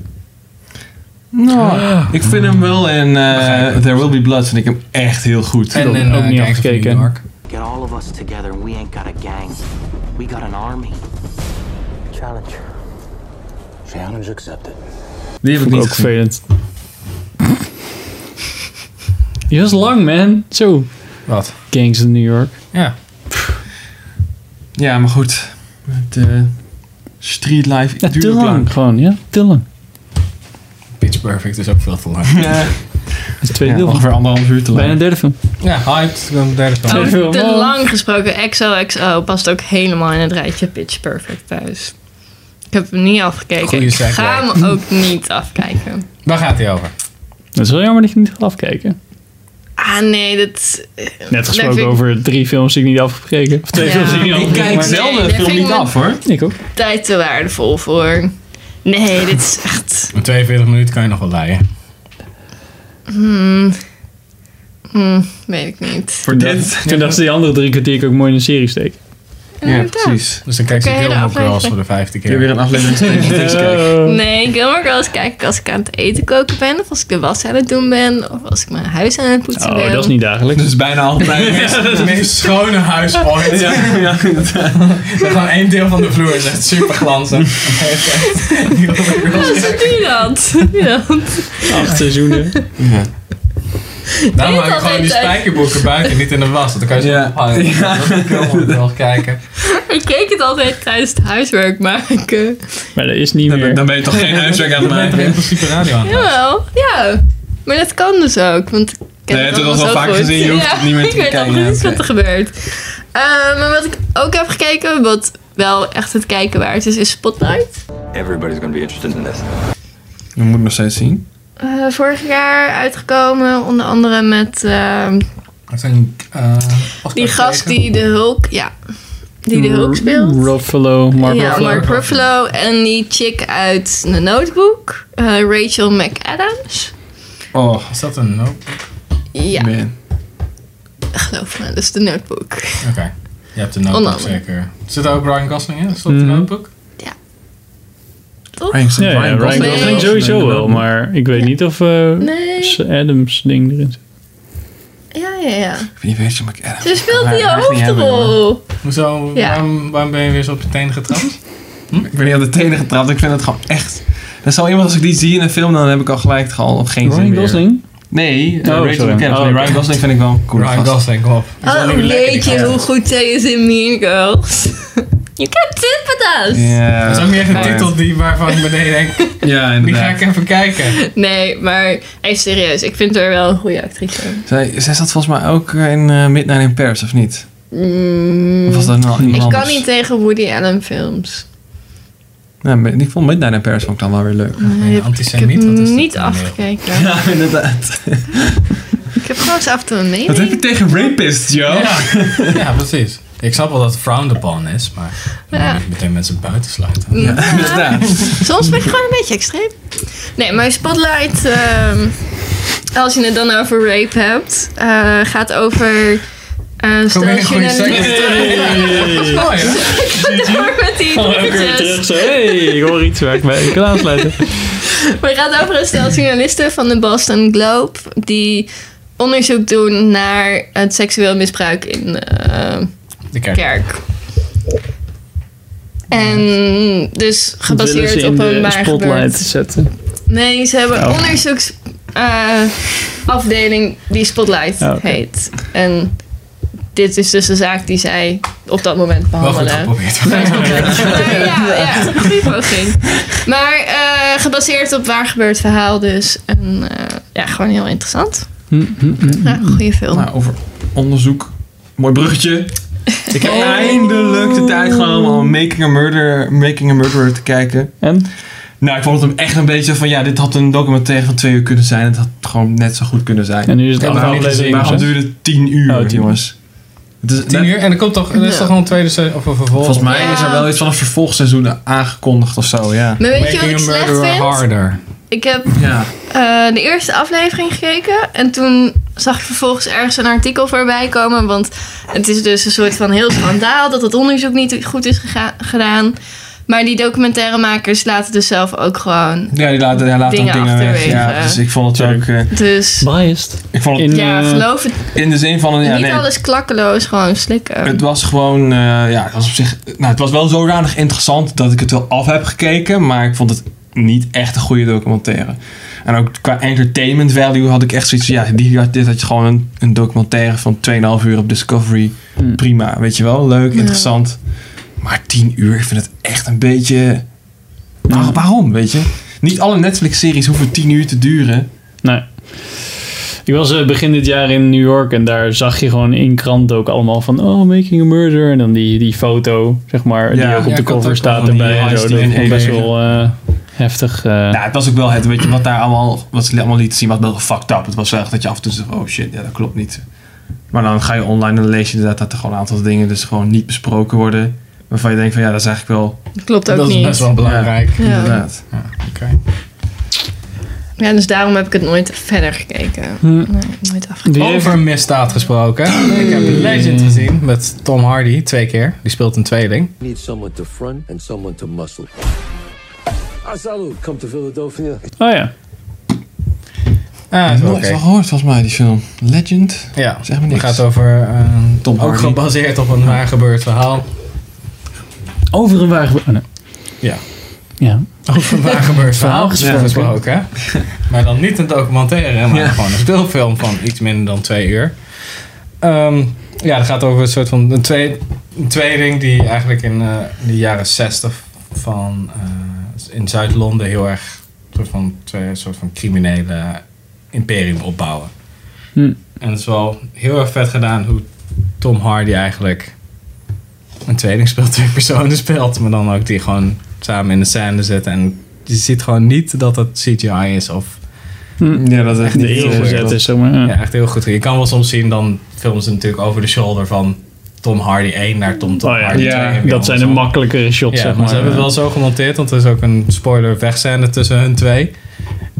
Ah. Nou, ik vind hem wel in eh, Begrijp ik. There Will Be Blood vind ik hem echt heel goed. En in ook eh, niet Gangs of afgekeken. New York. Get all of us together and we ain't got a gang. We got an army. Challenge. Challenge accepted. Die heb ik niet Vond ik ook gezien. vervelend. Die was lang, man. Zo. Wat? Gangs in New York. Ja. Ja, maar goed. Met, eh, street life Ja, duurt te ook lang. lang. Gewoon, ja. Te lang. Pitch Perfect is ook veel te lang. Ja, Het is tweede ja, deel. van. ongeveer anderhalf uur te Bijna lang. een derde film. Ja, hyped. Dan de derde film. Tweede Over film. te Oh. lang gesproken, XOXO past ook helemaal in het rijtje Pitch Perfect thuis. Ik heb hem niet afgekeken. Goeie ik segue. ga hem ook niet afkijken. Waar gaat hij over? Het is wel jammer dat je niet gaat afkijken. Ah nee, dat... Net gesproken vind ik- over drie films die ik niet afgekeken. Of twee Ja. films die ik niet Ik Ik afgekeken. kijk Maar- zelden Nee, de dat film vind ik niet me- af hoor. Ik ook. tijd te waardevol voor. Nee, dit is echt... Met 42 minuten kan je nog wel leien. Weet ik niet. Voor dit. Toen dacht ze die andere drie kwartier ook mooi in een serie steken. Ja, precies. Dus dan kijk ze Oké, de Gilmore Girls aflevering. voor de vijfde Ik heb weer keer. een aflevering steeds steeds kijken. Nee, Gilmore Girls kijk ik als ik aan het eten koken ben, of als ik de was aan het doen ben, of als ik mijn huis aan het poetsen ben. Oh, dat is niet dagelijks. Dat is bijna altijd. Het meest schone huis ooit. ja, ja, Gewoon één deel van de vloer is echt super glanzig. Oh, zo doe je dat? Doe je dat? Acht seizoenen. Daarom hou ik altijd gewoon die uit. spijkerboeken buiten, niet in de was. Want dan kan je ze Ja. ophangen. Dat is Gilmore Girls kijken. Ik keek het altijd tijdens het huiswerk maken. Maar dat is niet Dan- Dan meer. ben je toch geen huiswerk aan het Maar in maken. principe radio aan. Jawel, ja. Maar dat kan dus ook, want ik ken Nee, het dat allemaal was zo al vaak goed. gezien, je hoeft Ja, het niet meer te Ik weet al bekijken, precies ja, wat er gebeurt. Eh, maar wat ik ook heb gekeken, wat wel echt het kijken waard is, is Spotlight. Everybody's gonna be interested in this. We moeten nog steeds zien. Eh, vorig jaar uitgekomen, onder andere met eh, Het zijn, eh, die gast die de Hulk, ja, die de Hulk speelt. Hm, Ruffalo, Mark ja, Ruffalo. Mark Ruffalo en die chick uit The Notebook, eh, Rachel McAdams. Oh, Is dat een nope? Ja, man. geloof me, dat is The Notebook. Oké. Je hebt de notebook Onder andere. zeker. Zit er ook Brian Gosling in? Is dat de Mhm. notebook? Toch? Ryan Ja, ja, Ryan Ryan Gosling. Gosling sowieso wel, maar ik weet niet of eh, Nee. Adams ding erin zit. Ja, ja, ja. Ik weet niet, weet je, maar ik- eh, Ze speelt maar die echt niet hebben, hoor. hoofdrol. Hoezo? Ja. Waarom, waarom ben je weer zo op je tenen getrapt? Ik ben niet op de tenen getrapt. Ik vind het gewoon echt... Dat is al iemand als ik die zie in een film, dan heb ik al gelijk gewoon geen zin Ryan meer. Gosling? Nee, eh, Oh, Rachel sorry. McAdams. Oh, Nee, oké. Ryan Gosling vind ik wel een coole Brian gast. Gosling, kom op. Die is wel Oh, niet lekker, die jeetje, gast. hoe goed zij is in Mean Girls. you can't sit with us. Ja. Dat is ook niet echt een Maar- titel die, waarvan ik beneden denk, Ja, die ga ik inderdaad. even kijken. Nee, maar even serieus. Ik vind haar wel een goede actrice. Zij, zij zat volgens mij ook eh, in eh, Midnight in Paris, of niet? Mm. Of was dat nou iemand ik kan anders? niet tegen Woody Allen films. Ja, maar ik vond Midnight in Paris vond ik dan wel weer leuk. Nee, ik heb antisemiet, wat is dat niet dan afgekeken. Ja, inderdaad. Ik heb gewoon eens af en toe een Wat heb mening. je tegen rapists, joh? Ja, ja, precies. Ik snap wel dat het frowned upon is, maar dan Ja. moet je meteen mensen buiten sluiten. Ja, inderdaad. Soms ben je gewoon een beetje extreem. Nee, maar Spotlight ehm, als je het dan over rape hebt, eh, gaat over. eh stel weer dat een je goede een. segway. Mooi, Ik door met die Gaan we ook weer dingetjes. terug zo. Hé, hey, ik hoor iets waar ik mee kan aansluiten. Maar het gaat over een stel journalisten van de Boston Globe die onderzoek doen naar het seksueel misbruik in eh, De kerk. kerk. En dus Willen gebaseerd ze in op een de waar spotlight gebeurd. zetten. Nee, ze hebben een Oh. onderzoeksafdeling die Spotlight Oh, oké. heet. En dit is dus de zaak die zij op dat moment Wel goed behandelen. geprobeerd. Maar ja, ja, een goede poging. Maar eh, gebaseerd op waar gebeurd verhaal dus. En eh, ja, gewoon heel interessant. Hm, Ja, goede film. Nou, over onderzoek. Mooi bruggetje. Ik Oh. heb eindelijk de tijd genomen om Making a, Murder, Making a Murderer te kijken. En? Nou, ik vond hem echt een beetje van... Ja, dit had een documentaire van twee uur kunnen zijn. Het had gewoon net zo goed kunnen zijn. En nu is het Ja, acht waarom, afleveringen, waarom hè? duurde het tien uur, Oh, tien uur. jongens? Het is, Tien uur en er komt toch, er is toch Ja. gewoon een tweede se- of een vervolg. Volgens mij is er Ja. wel iets van een vervolgseizoen aangekondigd of zo, ja. Maar weet je Making wat ik a slecht murderer vind? harder. Ik heb Ja. eh, de eerste aflevering gekeken. En toen zag ik vervolgens ergens een artikel voorbij komen. Want het is dus een soort van heel schandaal dat het onderzoek niet goed is gega- gedaan. Maar die documentairemakers laten dus zelf ook gewoon. Ja, die laat, hij laat Dingen ook dingen weg. achterwege. Ja, dus ik vond het ook... eh, Dus Biased. ik vond het In, ja, eh, geloof het. in de zin van... Een, ja, niet nee, alles klakkeloos, gewoon slikken. Het was gewoon, eh, ja, het was op zich, nou, het was wel zodanig interessant dat ik het wel af heb gekeken, maar ik vond het niet echt een goede documentaire. En ook qua entertainment value had ik echt zoiets, ja, die, dit had je gewoon een, een documentaire van 2,5 uur op Discovery. Mm. Prima, weet je wel, leuk, interessant. Maar 10 uur, ik vind het echt een beetje, Waar- waarom, weet je? Niet alle Netflix-series hoeven 10 uur te duren. Nee. Ik was eh, begin dit jaar in New York en daar zag je gewoon in kranten ook allemaal van oh, making a murder. En dan die, die foto, zeg Ja, maar, die ook ja, op de ik had cover ook staat van die erbij. En heist zo. die Dat vond ik in best één wel eh, heftig. eh, Ja, Nou, het was ook wel het, weet je, wat daar allemaal, wat ze allemaal lieten zien, was wel fucked up. Het was wel echt dat je af en toe zegt, oh shit, ja, dat klopt niet. Maar dan ga je online en dan lees je inderdaad dat er gewoon een aantal dingen dus gewoon niet besproken worden. Waarvan je denkt van, ja, dat is eigenlijk wel, Klopt ook Dat is niet. best wel belangrijk. Ja. inderdaad. Oké. Ja, dus daarom heb ik het nooit verder gekeken. Hm. Nee, nooit afgekeken. die heeft- Over misdaad gesproken. Ik heb Legend gezien met Tom Hardy twee keer. Die speelt een tweeling. Need someone to front and someone to muscle. Asalu, come to Philadelphia. Oh ja. Ah, is wel Nooit oké. wel gehoord volgens mij, die film. Legend. Ja, Zeg maar niks. Het gaat over eh, Tom ook Hardy. gebaseerd op een waar gebeurd verhaal. Over een waar gebe- oh, nee. Ja. Ja. Over een waar gebeurd verhaal gesproken. gesproken. hè? Maar dan niet een documentaire, maar gewoon een speelfilm van iets minder dan twee uur. Ehm, ja, dat gaat over een soort van een, twee, een tweeling die eigenlijk in eh, de jaren zestig van eh, in Zuid-Londen heel erg een soort van, twee, soort van criminele imperium opbouwen. Hm. En het is wel heel erg vet gedaan hoe Tom Hardy eigenlijk een tweeling speelt, twee personen speelt, maar dan ook die gewoon samen in de scène zitten. En je ziet gewoon niet dat het CGI is of Ja, dat is echt De niet eeuw heel gezegd. gezet eh, is, zeg maar. ja. ja, echt heel goed. Je kan wel soms zien, dan filmen ze natuurlijk over de shoulder van Tom Hardy 1 naar Tom, Tom Oh ja, Hardy ja, 2. en weer Dat zijn de andersom. makkelijkere shots, Ja, zeg maar maar. eh, ze hebben het wel zo gemonteerd, want er is ook een spoiler wegscène tussen hun twee.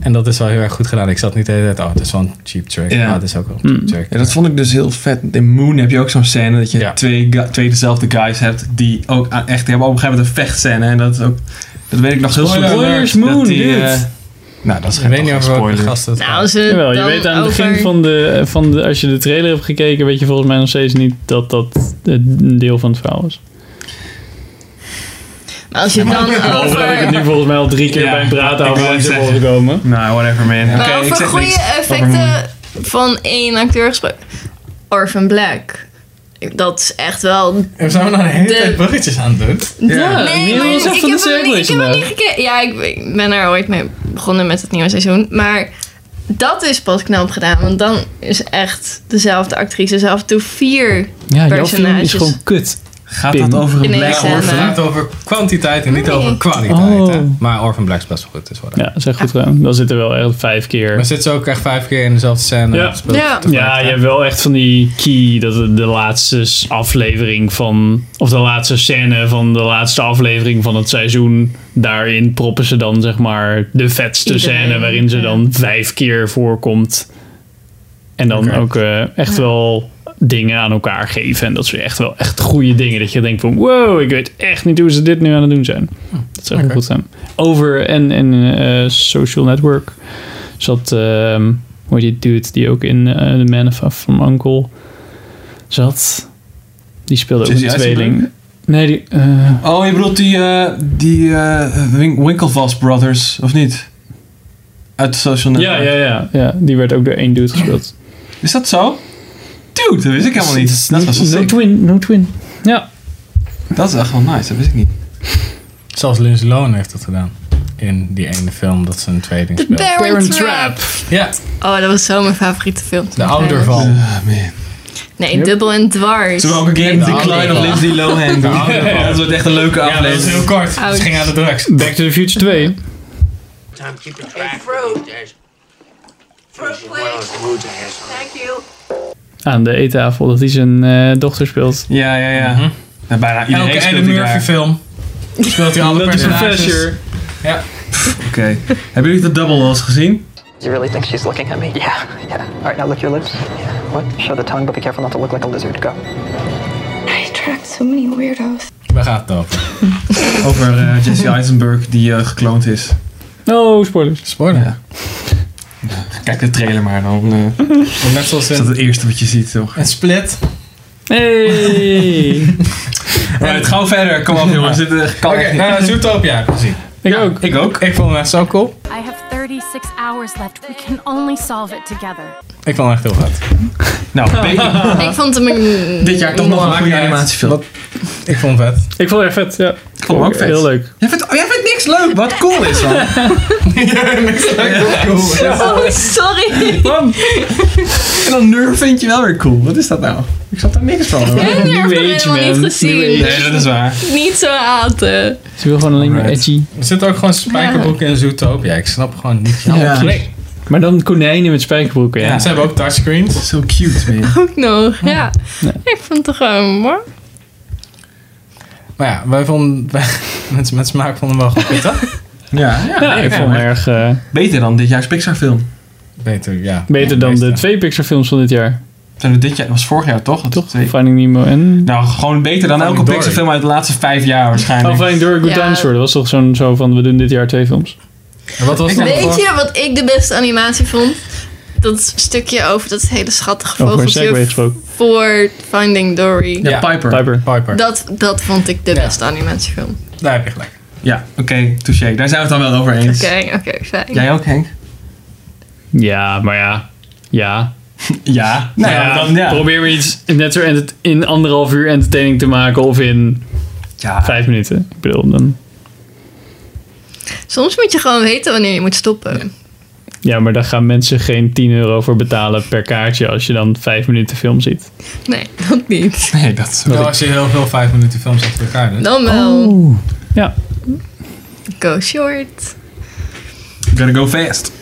En dat is wel heel erg goed gedaan. Ik zat niet de hele tijd, oh, het is wel een cheap trick. Ja. Ja, het is ook wel een cheap trick. Ja, dat vond ik dus heel vet. In Moon heb je ook zo'n scène dat je Ja. twee, ga- twee dezelfde guys hebt die ook aan- echt die hebben op een gegeven moment een vechtscène. En dat is ook, dat weet ik nog heel Spoiler goed. alert, Dat Moon, die, dude. eh, nou, dat is Ik geen weet niet toch over geen welke spoiler. gasten het Nou, ze Jawel, je dan weet aan het over... begin van de, van de... Als je de trailer hebt gekeken, weet je volgens mij nog steeds niet dat dat een deel van het verhaal is. Maar als je dan Over dat ik het over... nu volgens mij al drie keer Ja, bij een praat ik over wou langs het heb horen zeggen. komen. Nou, whatever man. Oké, maar ik Eh, over zeg niks. goede Over- effecten van één acteur gesproken. Orphan Black. Dat is echt wel... En zijn we nou de hele De- tijd bruggetjes aan het doen? Ja, nee, maar ik, heb dus hem, niet- ik heb hem niet gekeken. Ja, ik, ik ben er ooit mee begonnen met het nieuwe seizoen. Maar dat is pas knap gedaan. Want dan is echt dezelfde actrice. Dus af en toe vier Ja, jouw film is personages. gewoon kut. Gaat Pim. dat over een In één black scène. Het orphan? gaat over kwantiteit en niet Nee. over kwaliteit. Hè? Oh. Maar Orphan Black is best wel goed. Is wel Ja, dat is echt goed gedaan. Dan zitten wel echt vijf Maar keer... zit ze ook echt vijf keer in dezelfde scène? Ja. Speelt Ja. tegelijk, Ja, hè? je hebt wel echt van die key, dat het de laatste s- aflevering van... Of de laatste scène van de laatste aflevering van het seizoen. Daarin proppen ze dan, zeg maar, de vetste Iedereen, scène waarin ze ja. dan vijf keer voorkomt. En dan ook eh, echt wel dingen aan elkaar geven. En dat zijn echt wel echt goede dingen. Dat je denkt van wow, ik weet echt niet hoe ze dit nu aan het doen zijn. Dat zou Oké. goed zijn. Over en, en eh, Social Network zat, ehm hoe heet die dude die ook in eh, The Man of, from Uncle zat. Die speelde ook Jesse een Eisenberg? tweeling. Nee, die... Oh, je bedoelt die, eh, die eh, Win- Winklevoss Brothers, of niet? Uit Social Network. Ja, ja, ja, ja. Die werd ook door één dude gespeeld. Is dat zo? Dude, dat wist ik helemaal niet. Dat was wel No sick. twin, no twin. Ja. Dat is echt wel nice, dat wist ik niet. Zelfs Lindsay Lohan heeft dat gedaan. In die ene film dat ze een tweeling The speelt. Parent, Trap. Ja. Oh, dat was zo mijn favoriete film. De ouder van. Nee, Yep. dubbel en dwars. Zullen we ook een keer Nee, met de de Klein of ouder. Lindsay Lohan doen? Ja, ja. Dat wordt echt een leuke Ja, dat aflevering. is heel kort. Ouch. Ze ging aan de drugs. Back to the Future 2. Tom, keep it back. Fruit. Fruit, please. Thank you. Aan de eettafel, dat hij zijn eh, dochter speelt. Ja, ja, ja. Nou, bijna iedereen Mhm. Elke speelt Eddie die daar. Murphy film. Speelt hij alle Lady personages. Professor. Ja. Oké. Hebben jullie de Double wel eens gezien? Do you really think she's looking at me? Yeah, yeah. All right, now lick your lips. Yeah. What? Show the tongue, but be careful not to look like a lizard. Go. I attract so many weirdos. Waar gaat het over? Over eh, Jesse Eisenberg die eh, gekloond is. Oh, spoilers. Spoiler. Kijk de trailer maar dan. eh, Net zoals is dat het eerste wat je ziet, toch? Een split. Hey! Right, gauw verder. Kom op, jongens. Dit eh, kan Oké, echt niet. nou, Zootopia heb ik gezien. Ik ook. Ik ook. Ik vond hem echt zo cool. I have 36 hours left. We can only solve it together. Ik vond hem echt heel vet. Nou, Ik vond hem een... animatiefilm. Ik vond hem vet. Ik vond het echt vet, ja. Ik vond hem ook vet. Heel leuk. Jij vindt, oh, jij vindt niks leuk, wat cool is dan. Oh, sorry. En dan Nerf vind je wel weer cool. Wat is dat nou? Ik snap daar niks van. hoor. Ik heb Nerf nog helemaal niet gezien. Nee, dat is waar. Niet zo eh. haten. Ze wil gewoon alleen maar edgy. Er zitten ook gewoon spijkerbroeken in Zootopia. Ik snap gewoon niet. Ja. Nee. Maar dan konijnen met spijkerbroeken, ja. Ze hebben ook touchscreens. Zo cute, man. Ook nog, ja. Ik vond het toch gewoon mooi. Maar ja, wij vonden... Wij, mensen met smaak vonden hem wel goed, toch? Ja, ja, Ja, ik vond hem erg... eh, Beter dan dit jaar's Pixar film. Beter, ja. Beter dan de twee Pixar films van dit jaar. Zijn dit jaar? was vorig jaar toch? Toch? Finding Nemo en... Nou, gewoon beter dan elke Dory. Pixar film uit de laatste vijf jaar Oh, waarschijnlijk. Finding Dory Good Ja. Dinosaur. Dat was toch zo'n zo van, we doen dit jaar twee films. wat was Weet je wat ik de beste animatie vond? Dat stukje over dat hele schattige Over een vogeltje segway gesproken. voor Finding Dory. Piper. Piper. Dat, dat vond ik de beste animatiefilm. Daar heb je gelijk. Ja, oké, touché. Daar zijn we het dan wel over eens. Oké, oké, fijn. Jij ook, Henk? Ja, maar ja. Ja. Ja. Nou Ja, ja, dan ja. Probeer maar iets net zo ent- in anderhalf uur entertaining te maken of in vijf minuten. Ik bedoel, dan... Soms moet je gewoon weten wanneer je moet stoppen. Ja, maar daar gaan mensen geen 10 euro voor betalen per kaartje als je dan vijf minuten film ziet. Nee, dat niet. Nee, dat is Wel als je heel veel vijf minuten films achter elkaar doet. Dan wel. Oh. Ja. Go short. Gotta go fast.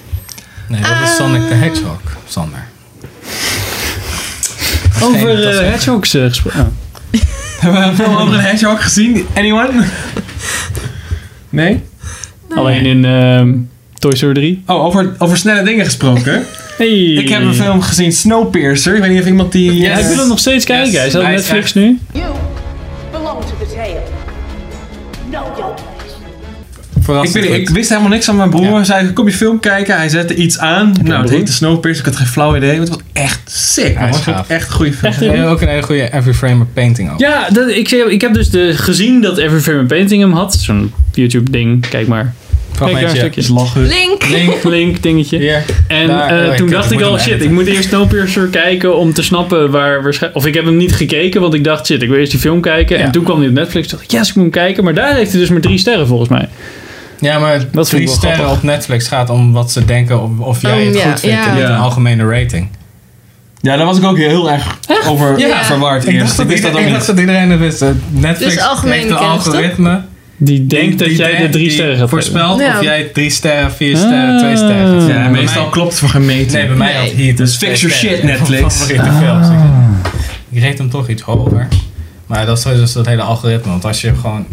Nee, dat is Sonic the Hedgehog, Sander. Over eh, Hedgehogs eh, gesproken. Oh. Hebben we een film over een hedgehog gezien? Anyone? Nee? Alleen in ehm, Toy Story 3. Oh, over, over snelle dingen gesproken. Hey. Ik heb een film gezien, Snowpiercer. Ik weet niet of iemand die... eh, Ja, dus- ik wil hem nog steeds kijken. Hij staat op Netflix nu. You belong to the tale. Know your place. Ik, weet niet, ik wist helemaal niks van mijn broer. Hij zei, kom je film kijken? Hij zette iets aan. nou, het broer? heette Snowpiercer. Ik had geen flauw idee. Maar het was echt Hij sick. man. is Ik vond gaaf. het echt een goede film. Echt eh, ook een hele goede every frame of painting ook. Ja, dat, ik, zei- ik heb dus de, gezien dat Every Frame a Painting hem had. Zo'n YouTube ding. Kijk maar. Kijk daar een Fragmentje. stukje. Is lachen. Link. Link, link dingetje. En Daar, eh, oh, ik toen kan- dacht ik ik moet al, hem shit, editen. ik moet eerst Snowpiercer kijken om te snappen waar waarschijnlijk... Of ik heb hem niet gekeken, want ik dacht, shit, ik wil eerst die film kijken. En toen kwam hij op Netflix. dacht ik, yes, ik moet hem kijken. Maar daar heeft hij dus maar drie sterren volgens mij. Ja, maar Dat drie sterren op Netflix gaat om wat ze denken of, of jij Oh, het ja, goed vindt ja. en niet Ja. een algemene rating. Ja, daar was ik ook heel erg over verward Ik eerst. dacht, dat, Ik wist dat iedereen- ook ik niet. dacht dat iedereen het wist. Netflix Dus algemene heeft een kennis, toch? algoritme. Die denkt dat die jij de denkt- drie die sterren Ah. gaat geven. voorspelt Ja. of jij drie sterren, vier sterren, twee sterren gaat Ja, geven. Bij meestal mij- klopt het voor gemeten. Nee, Oh. bij mij had hier Dus fix your shit, Netflix. Favoriete Ah. films. Ik reed hem toch iets hoger. eh, Maar dat is dus dat hele algoritme. Want als je gewoon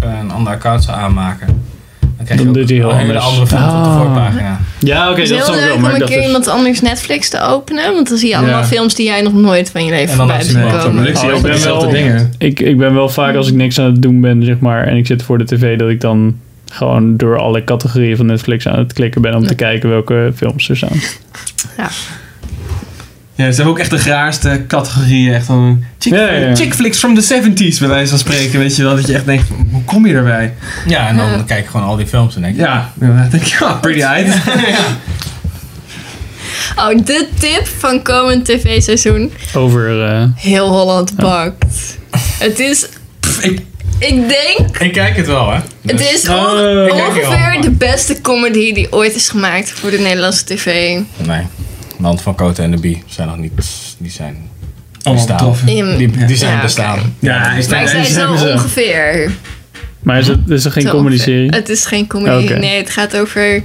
een ander account zou aanmaken, dan krijg je Dan ook doet hij heel een hele anders. andere film op de Ah. voorpagina. Ja, oké, Het is dat heel snap ik leuk wel. om Maar een dat keer is... iemand anders Netflix te openen. Want dan zie je allemaal Ja. films die jij nog nooit van je leven En dan voorbij Oh, had je hebt hem ook. gekomen. Maar ik zie altijd dezelfde dingen. Ik, ik ben wel vaak als ik niks aan het doen ben, zeg maar, en ik zit voor de tv, dat ik dan gewoon door alle categorieën van Netflix aan het klikken ben om te kijken welke films er staan. Ja, ze hebben ook echt de graarste categorieën. Echt van chick, Ja, ja, ja. chick flicks from the 70s, bij wijze van spreken. Weet je wel, dat je echt denkt, hoe kom je erbij? Ja, en dan Ja. kijk ik gewoon al die films en denk ik... Ja, dan denk ik, ja, pretty eyed. Oh, de tip van komend tv-seizoen. Over. eh, Heel Holland bakt. Het is... ik... denk... Ik kijk het wel, hè? Het is Oh, onge- ik kijk het wel. ongeveer de beste comedy die ooit is gemaakt voor de Nederlandse tv. Nee. Land van Koten en de Bie zijn nog niet... Die zijn... bestaan. betroffen. Die, die zijn Ja, oké. bestaan. Ja, is Maar ik zei zo ongeveer. Maar is het is er geen Zo comedy ongeveer. serie? Het is geen comedy. Oké. Nee, het gaat over,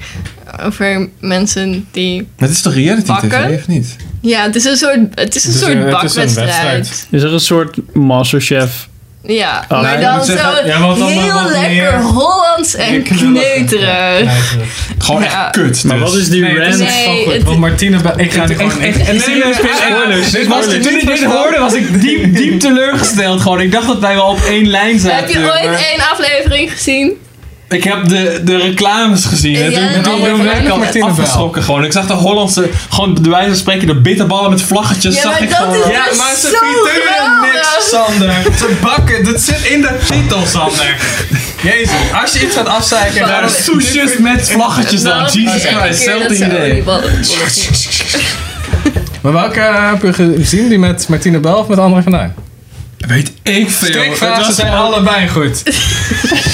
over mensen die... Maar het is toch reality Bakken? tv, of niet? Ja, het is een soort, het is een soort bakwedstrijd. Is er een soort Masterchef? Ja, Oh, maar nee, dan ik moet zo zeggen, ja, want dan heel wat meer- lekker Hollands en kneuterig. Gewoon Ja. echt kut. Maar dus. wat is die Nee, het random? is Nee, echt wel goed, het- want Martine... Ba- Ik ga Het- die gewoon... echt- in- echt- en nee, nee, nee, spoilers. Dit was, spoilers. toen ik dit hoorde was ik diep, diep teleurgesteld gewoon. Ik dacht dat wij wel op één lijn zaten. Heb je maar- ooit één aflevering gezien? Ik heb de, de reclames gezien. En Ja, toen die- toen ben die- ik Martine altijd Bel. afgeschrokken gewoon. Ik zag de Hollandse, gewoon bij wijze van spreken, de bitterballen met vlaggetjes. Ja, zag maar ik dat gewoon. is Ja, dus maar ze zo frituren geweldig. niks, Sander. Ze bakken, dat zit in de titel, Sander. Jezus, als je iets gaat afzeiken, Waarom- dan soesjes met vlaggetjes Dus dan. Nou, Waarom- Jesus Elke Christ, keer dat hetzelfde ze idee. Maar welke eh, heb je gezien? Die met Martine Bel of met André van Duin? Weet ik veel. Het Strikvragen was zijn gewoon- allebei goed.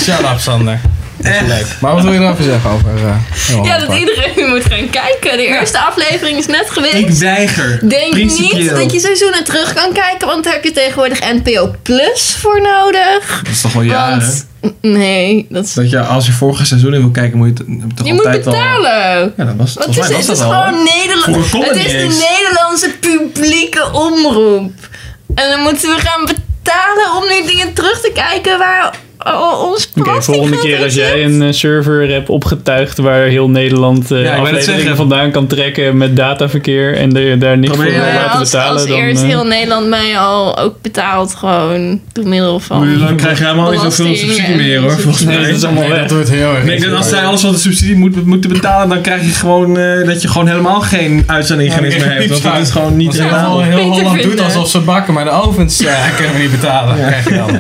Shut up, Sander. Dat is leuk. Eh. Maar wat wil je erover zeggen over... eh, Johan Ja, dat Park? iedereen moet gaan kijken. De eerste aflevering is net Ik geweest. weiger. Denk niet Principieel. dat je seizoenen terug kan kijken, want daar heb je tegenwoordig NPO Plus voor nodig. Dat is toch wel jaren. Want- Nee, dat is... Dat je als je vorige seizoen in wil kijken, moet je het toch Je moet altijd al- betalen. Ja, dat was, Wat volgens is mij het? was Het is dat al. gewoon Nederland. Vroeger kon Het het is niet de eens. Nederlandse publieke omroep. En dan moeten we gaan betalen om nu dingen terug te kijken waar o- ons Oké, volgende keer als jij een eh, server hebt opgetuigd waar heel Nederland Ja, eh ik wou net afleveringen zeggen. vandaan kan trekken met dataverkeer en de- daar niks voor wil Maar laten als, betalen, als dan... eerst eh, heel Nederland mij al ook betaalt gewoon door middel van... Maar dan krijg je helemaal niet zoveel belasting subsidie en- meer hoor, volgens mij. Nee, dat is allemaal weg. Dat wordt heel erg. Ik denk dat als zij alles wat de subsidie moet, moeten betalen, dan krijg je gewoon eh, dat je gewoon helemaal geen uitzendingennis meer hebt. Want dat is gewoon niet Als helemaal. heel, heel Holland doet alsof ze bakken, maar de ovens eh, kunnen we niet betalen. Krijg je dan.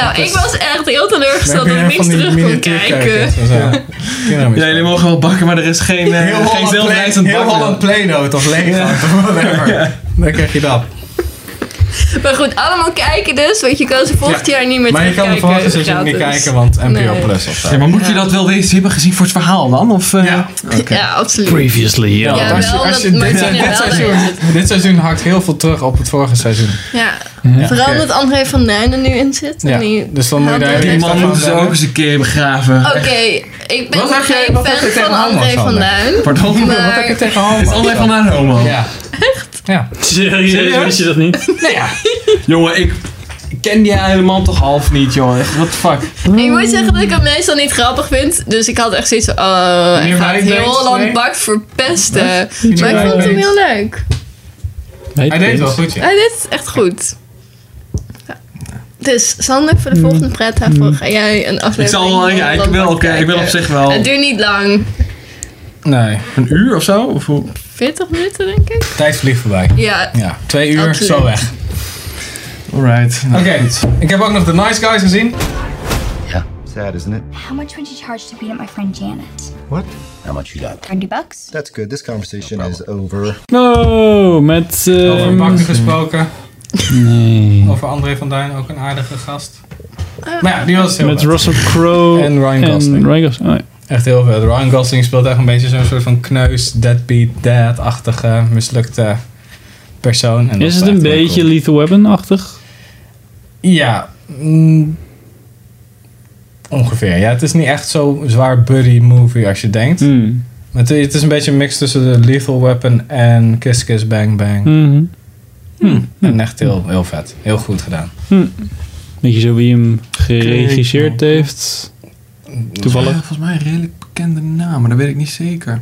Nou, ik was echt heel teleurgesteld Dan dat heb ik je niks van die terug kon miniatuurkerkjes kijken. en zo. Kinderen Ja, jullie mogen wel bakken, maar er is geen, eh, Heel geen Holland zelfrijdend Play- heel bakken. Holland Play-Doh of Lego of whatever. Dan krijg je dat. Maar goed, allemaal kijken dus, want je kan ze volgend jaar niet meer Maar je kan de terugkijken. volgende seizoen niet gratis. kijken, want NPO Nee. Plus of zo. Ja, maar moet je dat wel eens hebben gezien voor het verhaal dan? Of, eh, ja. Ja, absoluut. Previously, ja. Ja, als je, wel als je dat dit, Martine dit wel seizoen, dit seizoen hakt heel veel terug op het vorige seizoen. Ja. Mhm. Ja. Vooral Oké. omdat André van Duin er nu in zit. en Ja, die- dus dan moet je daar Die echt man van moeten ze hebben. ook eens een keer begraven. Oké, Echt. ik ben Wat heb jij- geen wat heb je fan tegen van homo's, André van Sander? Duin. Pardon? maar- Wat heb je tegen homo's? Het is André van Duin homo. Ja. Ja. Serieus, Serieus? wist je dat niet? Jongen, ik ik ken die helemaal toch half niet, jongen. Echt, What the fuck? Ik moet zeggen dat ik hem meestal niet grappig vind. Dus ik had echt zoiets van, oh, hij Meneer gaat heel Wijnbergs, Holland nee? bakt verpesten. Meneer Maar ik vond hem Wijnbergs. heel leuk. Hij deed het wel goed, ja. Hij deed het echt goed. Ja. Dus Sander, voor de volgende pret daarvoor ga jij een aflevering Hmm. Ik zal wel, van ja, ik Holland wil, Bakt oké, ik wil op kijken. zich wel- Het duurt niet lang. Nee. Een uur of zo? Of hoe? 40 minuten, denk ik. Tijd vliegt voorbij. Ja. Ja, twee uur, Absoluut. zo weg. Alright. Oké, Nou, ik heb ook nog The Nice Guys gezien. Sad, isn't it? How much would you charge to beat up my friend Janet? What? How much you got? 30 bucks? That's good. This conversation is over. Oh, met... eh, Over Bakker gesproken. Nee. Over André van Duin, ook een aardige gast. Maar ja, die was heel Met vet. Russell Crowe En Ryan Gosling. Ryan Gosling, oh ja. Echt heel vet. Ryan Gosling speelt echt een beetje zo'n soort van kneus, deadbeat, dad-achtige, mislukte persoon. En dat Is het echt een heel beetje cool. Lethal Weapon-achtig? Ja. mm, ongeveer. Ja, het is niet echt zo zwaar buddy movie als je denkt. Mm. Maar Het, het is een beetje een mix tussen de Lethal Weapon en Kiss Kiss Bang Bang. Mhm. Mm. En echt heel, heel vet. Heel goed gedaan. Weet je zo wie hem geregisseerd heeft? Toevallig. Ja, volgens mij een redelijk bekende naam, maar dat weet ik niet zeker.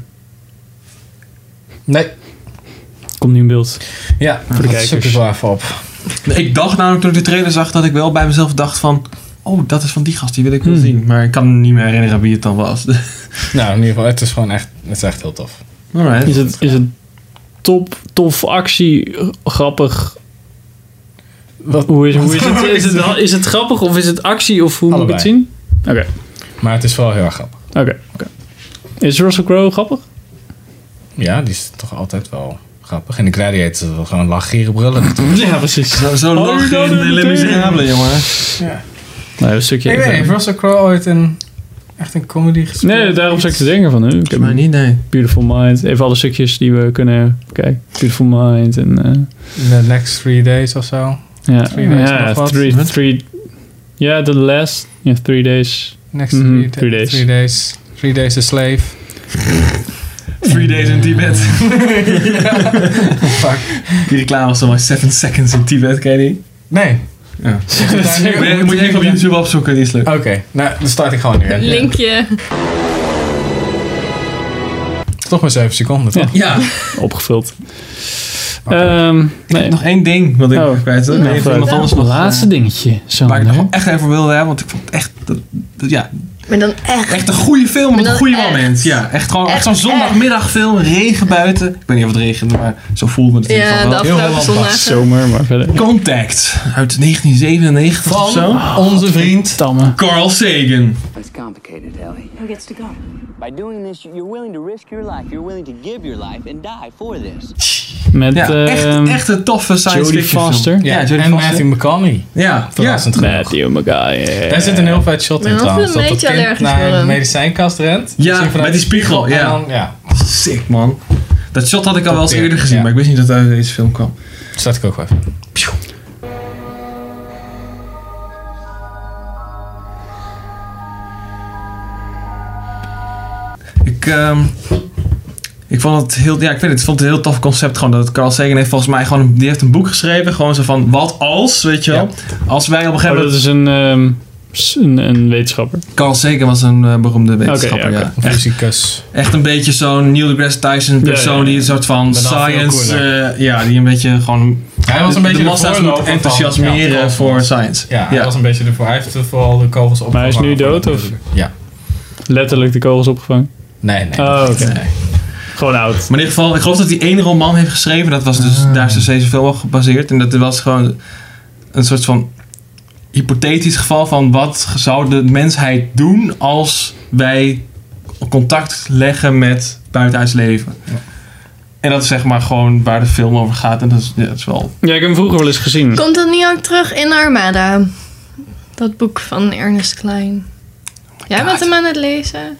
Nee. Komt nu in beeld. Ja, voor de kijkers. Super zwaar op. Ik dacht namelijk toen ik de trailer zag dat ik wel bij mezelf dacht van... Oh, dat is van die gast, die wil ik wel zien. Maar ik kan me niet meer herinneren wie het dan was. Nou, in ieder geval, het is gewoon echt, het is echt heel tof. Alright. Is het, is het top, tof actie, grappig? hoe is, hoe is, het, is, het, wel- is het grappig of is het actie of hoe moet ik het zien? Oké. Maar het is wel heel erg grappig. Oké. oké. Is Russell Crowe grappig? Ja, die is toch altijd wel grappig. En de Gladiator is gewoon lachgierig brullen natuurlijk. Ja, precies. Zo, zo Oh, lach dat in is de Les Miserables, natuurlijk. jongen. Ja. Nee, Nou, een stukje. Ik weet niet, heeft Russell Crowe ooit een, echt een comedy gespeeld? Nee, daarom zou ik te denken van. Hè? Ik heb maar niet, nee. Beautiful Mind. Even alle stukjes die we kunnen kijken. Beautiful Mind en... eh, The Next Three Days of zo. ja, Three ja, Days ja, nog wat. three, three, ja, The Last. Ja, Three Days. Next Mhm, three, three Days. Three Days. Three Days a Slave. Three days in Tibet. Fuck. Die reclame was dan maar 7 seconds in Tibet, ken je die? Nee. Ja. daar nu- Nee, Moet je even op YouTube opzoeken, die is leuk. Oké, nou, dan start ik gewoon nu. hè. Linkje. Toch maar 7 seconden, toch? Ja. Opgevuld. Ehm, nee. Nog één ding wat ik kwijt wil. nou, Nee, even vertel. wat anders nog. eh, Laatste dingetje. Zo, waar ik nog echt even wilde hebben, want ik vond het echt... dat- dat- ja, Maar dan echt. Echt een goede film op een goede moment. Ja, echt gewoon echt, Echt, zo'n zondagmiddagfilm, regen buiten. Ik weet niet of het regende, maar zo voelde het in ieder Ja, geval wel. de afgelopen Holland zondag. was. Zomer, maar verder. Contact uit 1997 of zo. Oh, onze vriend Carl Sagan. It's complicated, Ellie. Who gets to go? By doing this, you're willing to risk your life. You're willing to give your life and die for this. Met, Ja, echt- ehm, echt een toffe science Jodie fiction film. Foster. Ja, Ja, Jodie en Foster. Matthew McConaughey. Ja, verrassend genoeg. Matthew McConaughey. Oh, Daar zit een heel vet shot Maar in dat is trouwens. een Dat dat beetje kind allergisch naar voor de hem. medicijnkast rent. Ja, Zie je vanuit met die de spiegel, ja. en dan- ja. Sick, man. Dat shot had ik al wel eens Top eerder tier, gezien, ja. maar ik wist niet dat het uit deze film kwam. Zet ik ook wel even. Ik, ehm, ik vond het heel, ja, ik weet het, ik vond het een heel tof concept gewoon dat Carl Sagan heeft volgens mij gewoon, een- die heeft een boek geschreven, gewoon zo van wat als, weet je wel. Als wij op een gegeven Oh, moment... dat is een, ehm, s- een, een wetenschapper. Carl Sagan was een eh, beroemde wetenschapper, Oké, ja, oké. ja. Echt- Echt een beetje zo'n Neil deGrasse Tyson Ja, persoon ja, ja. die een soort van Maar dan veel science, cooler. eh, ja, die een beetje gewoon... Hij was een de- beetje de de massa's voorloper moet van- enthousiasmeren ja, voor science. Ja, hij was een beetje ervoor. Hij heeft vooral de kogels op. Maar hij is nu dood, of? Ja. Letterlijk de kogels opgevangen? Nee, nee. Oh, oké. Nee. Gewoon oud. Maar in ieder geval, ik geloof dat hij één roman heeft geschreven. Dat was dus, Daar is dus deze film op gebaseerd. En dat was gewoon een soort van hypothetisch geval van wat zou de mensheid doen als wij contact leggen met buitenaards leven. En dat is zeg maar gewoon waar de film over gaat. En dat is, ja, dat is wel... Ja, ik heb hem vroeger wel eens gezien. Komt dat niet ook terug in Armada? Dat boek van Ernest Klein. Jij bent hem aan het lezen?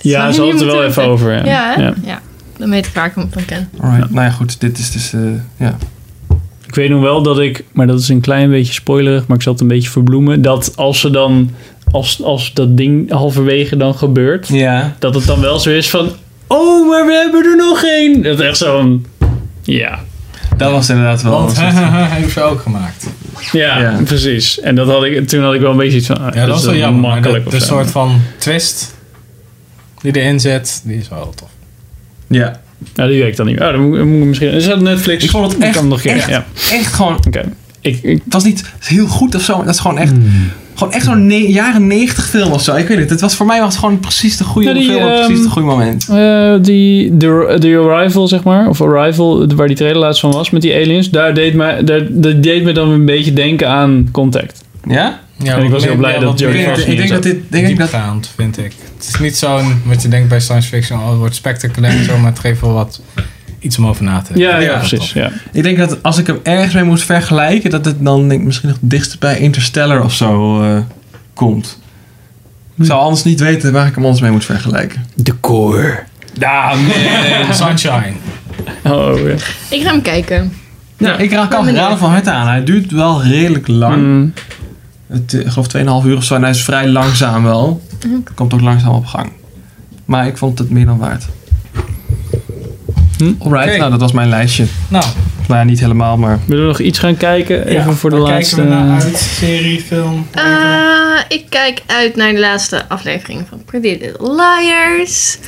Ja, Zou je ze hadden niet het er wel moeten even over. Ja, weten? Ja, hè? Ja. ja. Dan weet ik waar ik hem van ken. Alright, nou ja, goed. Dit is dus... eh, ja. Ik weet nog wel dat ik, maar dat is een klein beetje spoilerig, maar ik zal het een beetje verbloemen. Dat als ze dan, als, als dat ding halverwege dan gebeurt, ja. dat het dan wel zo is van, oh, maar we hebben er nog één. Dat is echt zo'n, ja. Dat was inderdaad wel. Want hij heeft ze ook gemaakt. Ja, Ja. precies. En dat had ik, toen had ik wel een beetje iets van, ah, Ja, dat is wel jammer. maar makkelijk. de- of De zo. soort van twist die erin zet, die is wel heel tof. Ja. Nou, die weet ik dan niet. Oh, dan moet, ik- moet ik misschien. Is dat Netflix? Ik vond het echt- nog een keer. echt- ja. echt gewoon. Oké. Ik, ik, Het was niet heel goed of zo, maar dat is gewoon echt. Gewoon echt zo'n ne- jaren 90 film of zo. Ik weet het. Het was voor mij was het gewoon precies de goede Ja, die, film. op ehm, precies het goede moment. eh, die, de, de Arrival, zeg maar. Of Arrival, waar die trailer laatst van was met die aliens. Daar deed me, daar, dat deed me dan een beetje denken aan Contact. Ja? en ik was heel blij dat Jodie Joey Foster Ik denk dat dit... dit diepgaand, vind ik. Het is niet zo'n, wat je denkt bij science fiction, oh, het wordt spectaculair en zo, maar het geeft wel wat, iets om over na te denken. Ja. Ik denk dat als ik hem ergens mee moest vergelijken, dat het dan denk ik, misschien nog dichtst bij Interstellar of zo eh, komt. Ik zou anders niet weten waar ik hem anders mee moet vergelijken. De core. Ja, man. Sunshine. Oh, ja. Ik ga hem kijken. Ja, ik raak al raden van harte aan. Hij duurt wel redelijk lang. Hmm. Het, eh, ik geloof 2,5 uur of zo. En hij is vrij langzaam wel. Oké. Komt ook langzaam op gang. Maar ik vond het meer dan waard. Alright, Hm? Oké. nou dat was mijn lijstje. Nou. Nou ja, niet helemaal, maar... Willen we nog iets gaan kijken? Even voor de waar laatste... kijken we naar uit? Serie, film? Eh, ik kijk uit naar de laatste aflevering van Pretty Little Liars.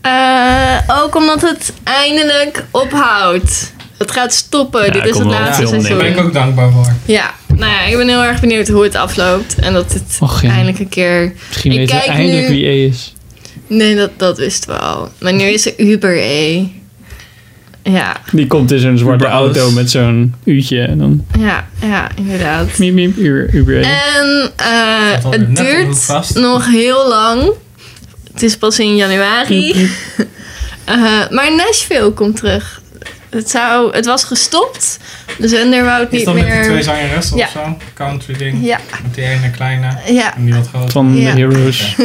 Eh, ook omdat het eindelijk ophoudt. Het gaat stoppen. Dit is het laatste seizoen. Daar ben ik ook dankbaar voor. Ja, nou ja, ik ben heel erg benieuwd hoe het afloopt. En dat het eindelijk een keer... Misschien ik weten we kijk eindelijk nu- wie E is. Nee, dat, dat wisten we al. Maar nu is er Uber E. Ja, Die komt in zo'n zwarte auto met zo'n uurtje en dan... ja, ja, inderdaad. Miep, miep, Uber, Uber. En eh, alweer het net omhoog duurt vast. nog heel lang. Het is pas in januari. Eh, maar Nashville komt terug. Het, zou, het was gestopt. De zender wou het Is niet dat meer. met die twee zangeressen ja. of zo? Country ding. Ja. Met die ene kleine. Ja. En die wat grote. Van de Ja. Heroes.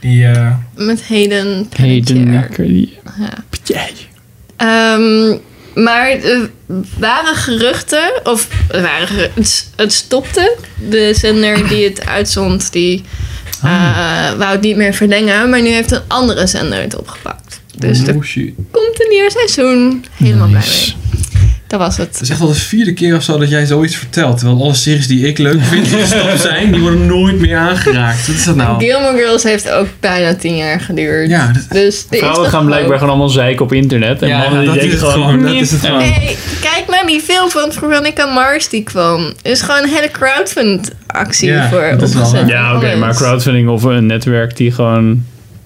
Die, eh, Met Hayden. Hayden die Ja. Ehm, maar er waren geruchten, of er waren geru- het, het stopte. De zender die het uitzond, die eh, wou het niet meer verlengen. Maar nu heeft een andere zender het opgepakt. Dus er Oh, shit. komt een nieuw seizoen. Helemaal blij mee. Dat was het. Het is echt al de vierde keer of zo dat jij zoiets vertelt. Terwijl alle series die ik leuk vind die gestopt zijn, die worden nooit meer aangeraakt. Wat is dat nou? Gilmore Girls heeft ook bijna tien jaar geduurd. Ja, dus er is Vrouwen nog gaan blijkbaar hoop. gewoon allemaal zeiken op internet. En Ja, mannen die dat is denken het gewoon... gewoon, dat is het "Nee." gewoon. Hey, kijk naar die film van Veronica Mars die kwam. Er is gewoon een hele crowdfund actie voor opgezet. Ja, oké, Alles. maar crowdfunding of een netwerk die gewoon...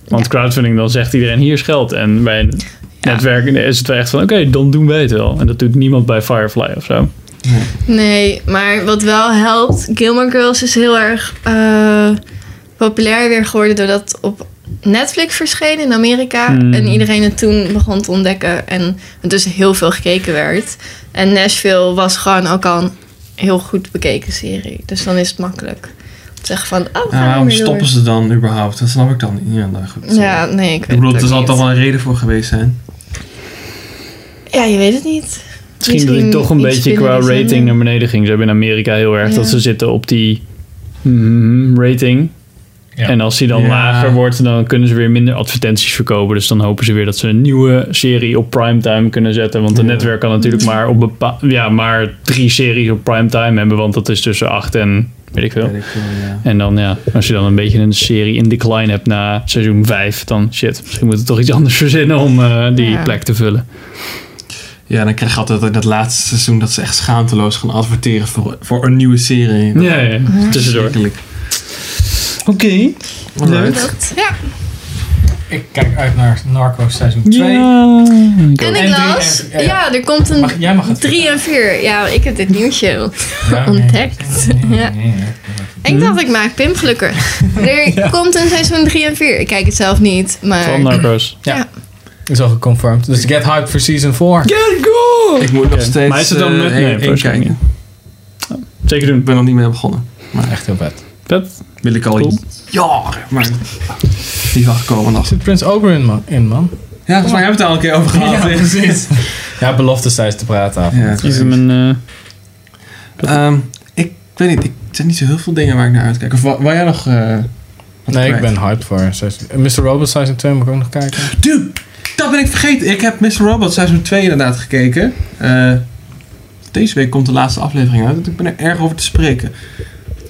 Want crowdfunding, dan zegt iedereen hier is geld. En bij een netwerk is het wel echt van... Oké, dan doen wij het wel. En dat doet niemand bij Firefly of zo. Nee, maar wat wel helpt, Gilmore Girls is heel erg eh, populair weer geworden doordat het op Netflix verscheen in Amerika Hmm. en iedereen het toen begon te ontdekken en het dus heel veel gekeken werd. En Nashville was gewoon ook al een heel goed bekeken serie, dus dan is het makkelijk om te zeggen van, oh, we gaan Nou, er waarom weer door. stoppen ze dan überhaupt? Dat snap ik dan niet. Ja, nou goed. Ja, nee, ik Ik weet bedoel, het er ook zal niet. toch wel een reden voor geweest zijn. Ja, je weet het niet. Misschien, dat ik toch een iets beetje binnen qua de zender. rating naar beneden ging. Ze hebben in Amerika heel erg Ja. dat ze zitten op die mm, rating. En als die dan Ja. lager wordt, dan kunnen ze weer minder advertenties verkopen. Dus dan hopen ze weer dat ze een nieuwe serie op primetime kunnen zetten. Want een netwerk kan natuurlijk maar, op bepa- ja, maar drie series op primetime hebben. Want dat is tussen acht en weet ik veel. En dan ja, als je dan een beetje een serie in decline hebt na seizoen vijf. Dan shit, misschien moeten we toch iets anders verzinnen om eh, die Ja. plek te vullen. Ja, dan krijg je altijd in dat laatste seizoen dat ze echt schaamteloos gaan adverteren voor, voor een nieuwe serie. Ja, ja, ja. tussendoor. Oké. Ja. Ik kijk uit naar Narcos seizoen 2. En ik drie las, en- ja, er komt een Mag- jij mag het 3 en 4. Ja, ik heb dit nieuwtje Ja, nee. ontdekt. Ja. Ik dacht, ik maak Pim gelukkig. Er komt een seizoen 3 en 4. Ik kijk het zelf niet, maar... eh, Ja. Is al geconfirmed. Dus get hyped voor season 4. Get go! Ik moet nog Oké. steeds Maar is het dan eh, nut? één- Nee, één waarschijnlijk kijken. Zeker doen. Ik ben nog niet mee begonnen. Maar echt heel vet. Vet? Wil ik al jaren, maar die van gekomen nog. Zit Prins Oberyn man- in, man? Ja, volgens mij hebben we het al een keer over gehad. Ja, precies. ja, beloftes tijdens de praatavond. Ja, Is eh, hem een... Ehm, ik weet niet, ik, er zijn niet zo heel veel dingen waar ik naar uitkijk. Of wa- waar jij nog... eh, wat Nee, ik kwijt? ben hyped voor seizoen- Mr. Robot seizoen 2 moet ik ook nog kijken. Dude, dat ben ik vergeten. Ik heb Mr. Robot seizoen 2 inderdaad gekeken. Eh, deze week komt de laatste aflevering uit. Ik ben er erg over te spreken.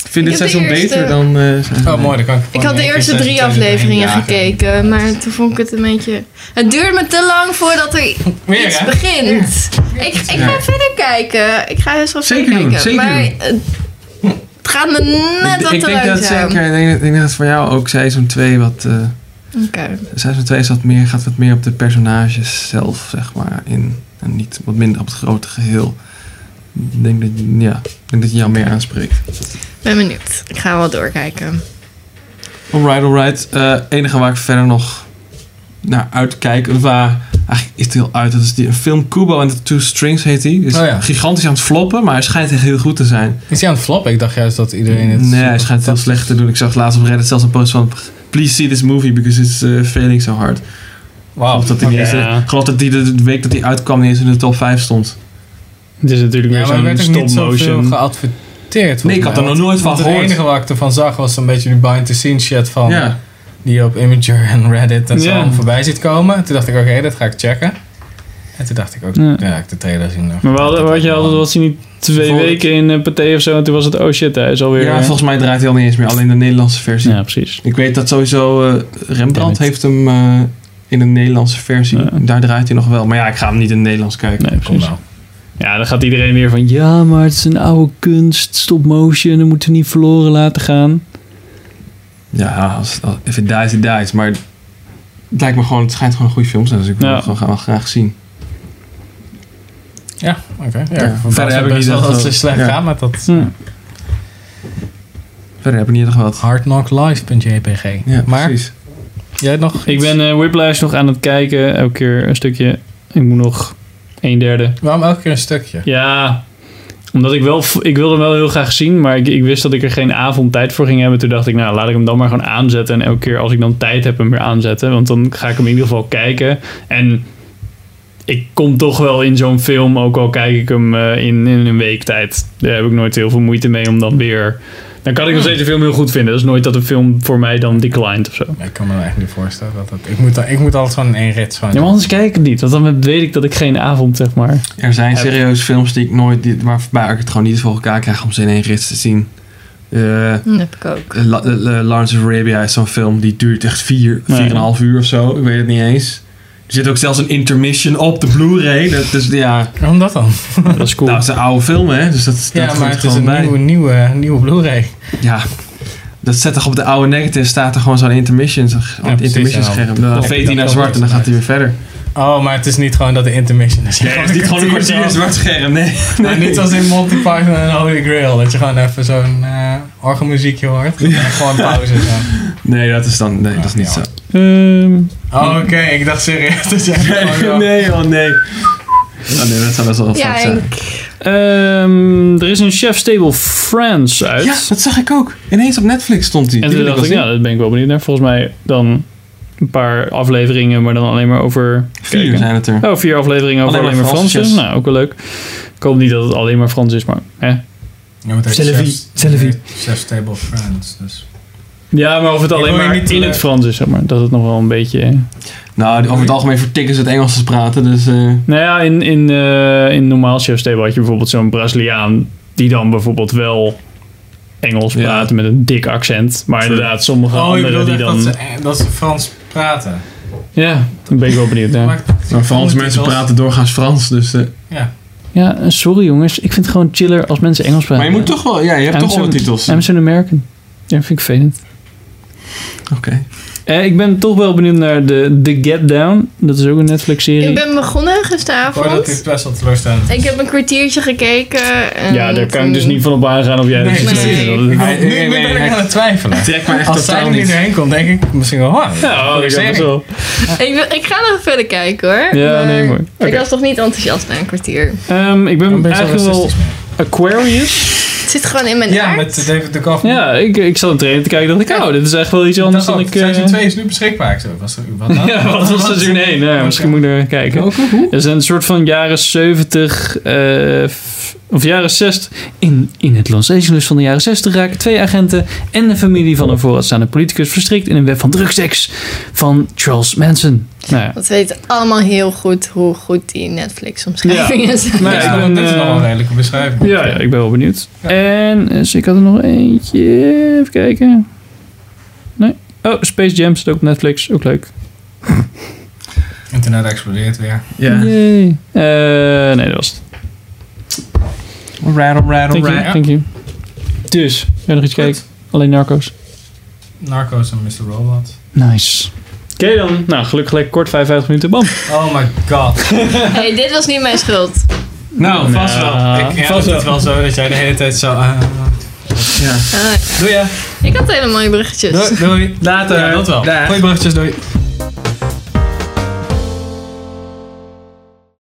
Ik vind dit heb de seizoen eerste- beter dan... eh, seizoen Oh, mooi, dan kan ik Ik had de eerste drie afleveringen gekeken, maar toen vond ik het een beetje... Het duurde me te lang voordat er Weer, iets hè? begint. Ik, ik ga Ja. verder kijken. Ik ga eens wel Zeker verder doen, kijken. zeker maar doen. eh, het gaat me net Ik- wat ik te denk langzaam. dat zeker, ik denk, ik denk dat het voor jou ook seizoen 2 wat... eh Oké. seizoen 2 is wat meer, gaat wat meer op de personages zelf, zeg maar, in. En niet wat minder op het grote geheel. Ik denk dat, ja, ik denk dat je jou meer aanspreekt. Ben benieuwd. Ik ga wel doorkijken. Alright, alright. Eh enige waar ik verder nog naar uitkijk, of waar eigenlijk is het heel uit. Dat is die een film Kubo and the Two Strings heet die. Is Oh ja. gigantisch aan het floppen, maar hij schijnt echt heel goed te zijn. Is hij aan het floppen? Ik dacht juist dat iedereen het... Nee, hij schijnt het heel slecht te doen. Ik zag laatst op Reddit zelfs een post van... Please see this movie because it's eh, failing so hard. Wauw. Of dat hij niet oké. eens- eh, Ja. ik geloof dat hij de de week dat hij uitkwam niet eens in de top 5 stond. Het is natuurlijk Ja, weer maar er zo'n werd ook niet zoveel stop-motion. geadverteerd. Nee, ik had er nog nooit van Het gehoord. enige waar ik ervan zag was een beetje die behind-the-scenes shit van... Ja. Die je op Imager en Reddit en zo Ja. voorbij ziet komen. Toen dacht ik, oké, dat ga ik checken. En En toen dacht ik ook, Ja. ja, ik de trailer zien. dacht ik, Maar we hadden, wat je altijd was hij niet twee weken in eh, Pathé of zo en toen was het oh shit, hij is alweer... Ja, volgens mij draait hij al niet eens meer. Alleen de Nederlandse versie. Ja, precies. Ik weet dat sowieso eh, Rembrandt heeft hem eh, in de Nederlandse versie. Daar draait hij nog wel. Maar ja, ik ga hem niet in het Nederlands kijken. Nee, Kom nou. Ja, dan gaat iedereen weer van ja, maar het is een oude kunst, stop motion, dat moeten we niet verloren laten gaan. Ja, als, als, if it dies, it dies. Maar het lijkt me gewoon, het schijnt gewoon een goede film te zijn. Dus ik wil hem gewoon gra- wel graag zien. Ja, oké. Ja, Ja, verder heb ik niet dat het slecht gaat met dat. Verder heb ik niet nog wat. Hardknocklive.jpg. Ja, maar precies. jij nog? Ik ben eh, Whiplash nog aan het kijken, elke keer een stukje. Ik moet nog een derde. Waarom elke keer een stukje? Ja, omdat ik wel, v- ik wilde hem wel heel graag zien, maar ik, ik wist dat ik er geen avond tijd voor ging hebben. Toen dacht ik, nou laat ik hem dan maar gewoon aanzetten. En elke keer als ik dan tijd heb, hem weer aanzetten. Want dan ga ik hem in ieder geval kijken. En ik kom toch wel in zo'n film, ook al kijk ik hem eh, in, in een week tijd. Daar heb ik nooit heel veel moeite mee om dan weer. Dan kan ik nog steeds de film heel goed vinden. Dat is nooit dat een film voor mij dan declined of zo. Ik kan me dat echt niet voorstellen. Dat dat, ik, moet dan, ik moet altijd gewoon in één rit. Gewoon Ja, maar anders kijk ik het niet. Want dan weet ik dat ik geen avond, zeg maar. Er zijn heb. serieus films die ik nooit, die, waar, waar ik het gewoon niet voor elkaar krijg om ze in één rits te zien. Eh, Dat heb ik ook. La- La- La- Lawrence of Arabia is zo'n film die duurt echt vier, vier en een half uur of zo. Ik weet het niet eens. Er zit ook zelfs een intermission op de Blu-ray. Dat, dus ja. Waarom dat dan? Dat is cool. Nou, het is een oude film, hè? Dus dat, Ja, dat maar hoort het is gewoon een bij. nieuwe, nieuwe, nieuwe Blu-ray. Ja. Dat zet toch op de oude negative staat er gewoon zo'n intermission, zo- op het precies, intermission ja. scherm. Dan Klopt. veet hij naar Dat zwart en dan klopt. gaat hij weer verder. Oh, maar het is niet gewoon dat de intermission is. Nee, het is niet gewoon een kwartier zwart scherm, nee. Maar niet als in Monty Python en Holy Grail. Dat je gewoon even zo'n eh orgelmuziekje hoort. En gewoon pauze. zo. Nee, dat is dan, nee, dat is niet zo. Ehm, Oh, Oké, ik dacht serieus dat jij gewoon zo- Nee, oh nee. Oh nee, dat zou best wel Ja, vaak zijn. Ehm, er is een Chef's Table France uit. Ja, dat zag ik ook. Ineens op Netflix stond die. En Die toen wil dacht ik, wel ja, dat ben ik wel benieuwd naar. Volgens mij dan een paar afleveringen, maar dan alleen maar over... Vier zijn het er. Oh, vier afleveringen over Alleen alleen, maar maar Fransen. Franse chefs. Nou, ook wel leuk. Ik hoop niet dat het alleen maar Frans is, maar... Hè? Ja, maar het heet C'est la vie, Chef's- c'est la vie. Chef's Table of Friends. Dus. Ja, maar of het Ik alleen wil je maar niet, in eh, het Frans is, zeg maar. Dat het nog wel een beetje... Nou, over het algemeen vertikken ze het Engels te praten, dus... eh, Nou ja, in, in, eh, in normaal Chef's Table had je bijvoorbeeld zo'n Braziliaan... die dan bijvoorbeeld wel Engels praat met een dik accent. Maar inderdaad, sommige Oh, je anderen bedoelt die echt dan... dat, ze, eh, dat ze Frans praten. Ja, dan ben ik wel benieuwd. Ja. Maar Franse mensen praten doorgaans Frans, dus... eh, Ja, eh, sorry jongens. Ik vind het gewoon chiller als mensen Engels praten. Maar je moet toch wel- ja, je hebt I'm toch zo'n- ondertitels. I'm zo'n American. Ja, vind ik vervelend. Oké. Eh, ik ben toch wel benieuwd naar de, The Get Down. Dat is ook een Ik Netflix-serie. ben begonnen Ik Oh, hoor dat dit gisteravond. best wel teleurstellend Ik heb een kwartiertje gekeken. En Ja, daar kan ik dus niet van op aangaan of jij Nee, dat precies. vindt. Ik bedoel, Oh, nu- nu ben ik aan het twijfelen. Trek maar echt Als zij totaal er niet niet. doorheen komt, denk ik misschien wel hard. Ja, oh, ik denk dat wel. Ik, wil- ik ga nog verder kijken hoor. Ja, Maar nee, mooi. Ik Oké. was toch niet enthousiast na een kwartier. Ehm, ik ben, ben je zo eigenlijk wel racistisch Aquarius. Het zit gewoon in mijn Ja, aard. met David Oh, Duchovny. Ja, ik, ik zat een trailer te kijken dacht ik, oh, dit is echt wel iets anders dan ik... eh, Seizoen 2 is nu beschikbaar. Ik zo, was er, wat nou? Ja, wat was seizoen 1? Ja, misschien moet ik er kijken. Er zijn een soort van jaren 70 eh, f- of jaren 60. In, in het Los Angeles van de jaren 60 raken twee agenten en de familie van een vooraanstaande politicus verstrikt in een web van drugseks van Charles Manson. Nou ja. Want we weten allemaal heel goed hoe goed die Netflix-omschrijvingen Ja. zijn. Maar ja, ik ben, dit is nog wel een eh, redelijke beschrijving. Ja, ja, ik ben wel benieuwd. En dus ik had er nog eentje. Even kijken. Nee. Oh, Space Jam staat ook op Netflix. Ook leuk. Internet explodeert weer. Yay. Eh, nee, dat was het. Alright, alright, Thank you, alright. thank you. Dus, wil je nog iets kijken? Alleen narco's. Narcos en Mr. Robot. Nice. Oké dan. Nou, gelukkig lekker kort, 55 minuten, bam. Oh my god. Hey, dit was niet mijn schuld. Nou, vast wel. Ik ja, vast het is wel zo dat jij de hele tijd zo... eh, ja. Ah, Doei hè. ik had hele mooie bruggetjes. Doei. doei. Later. Ja, dat wel. Dag. Goeie bruggetjes, doei.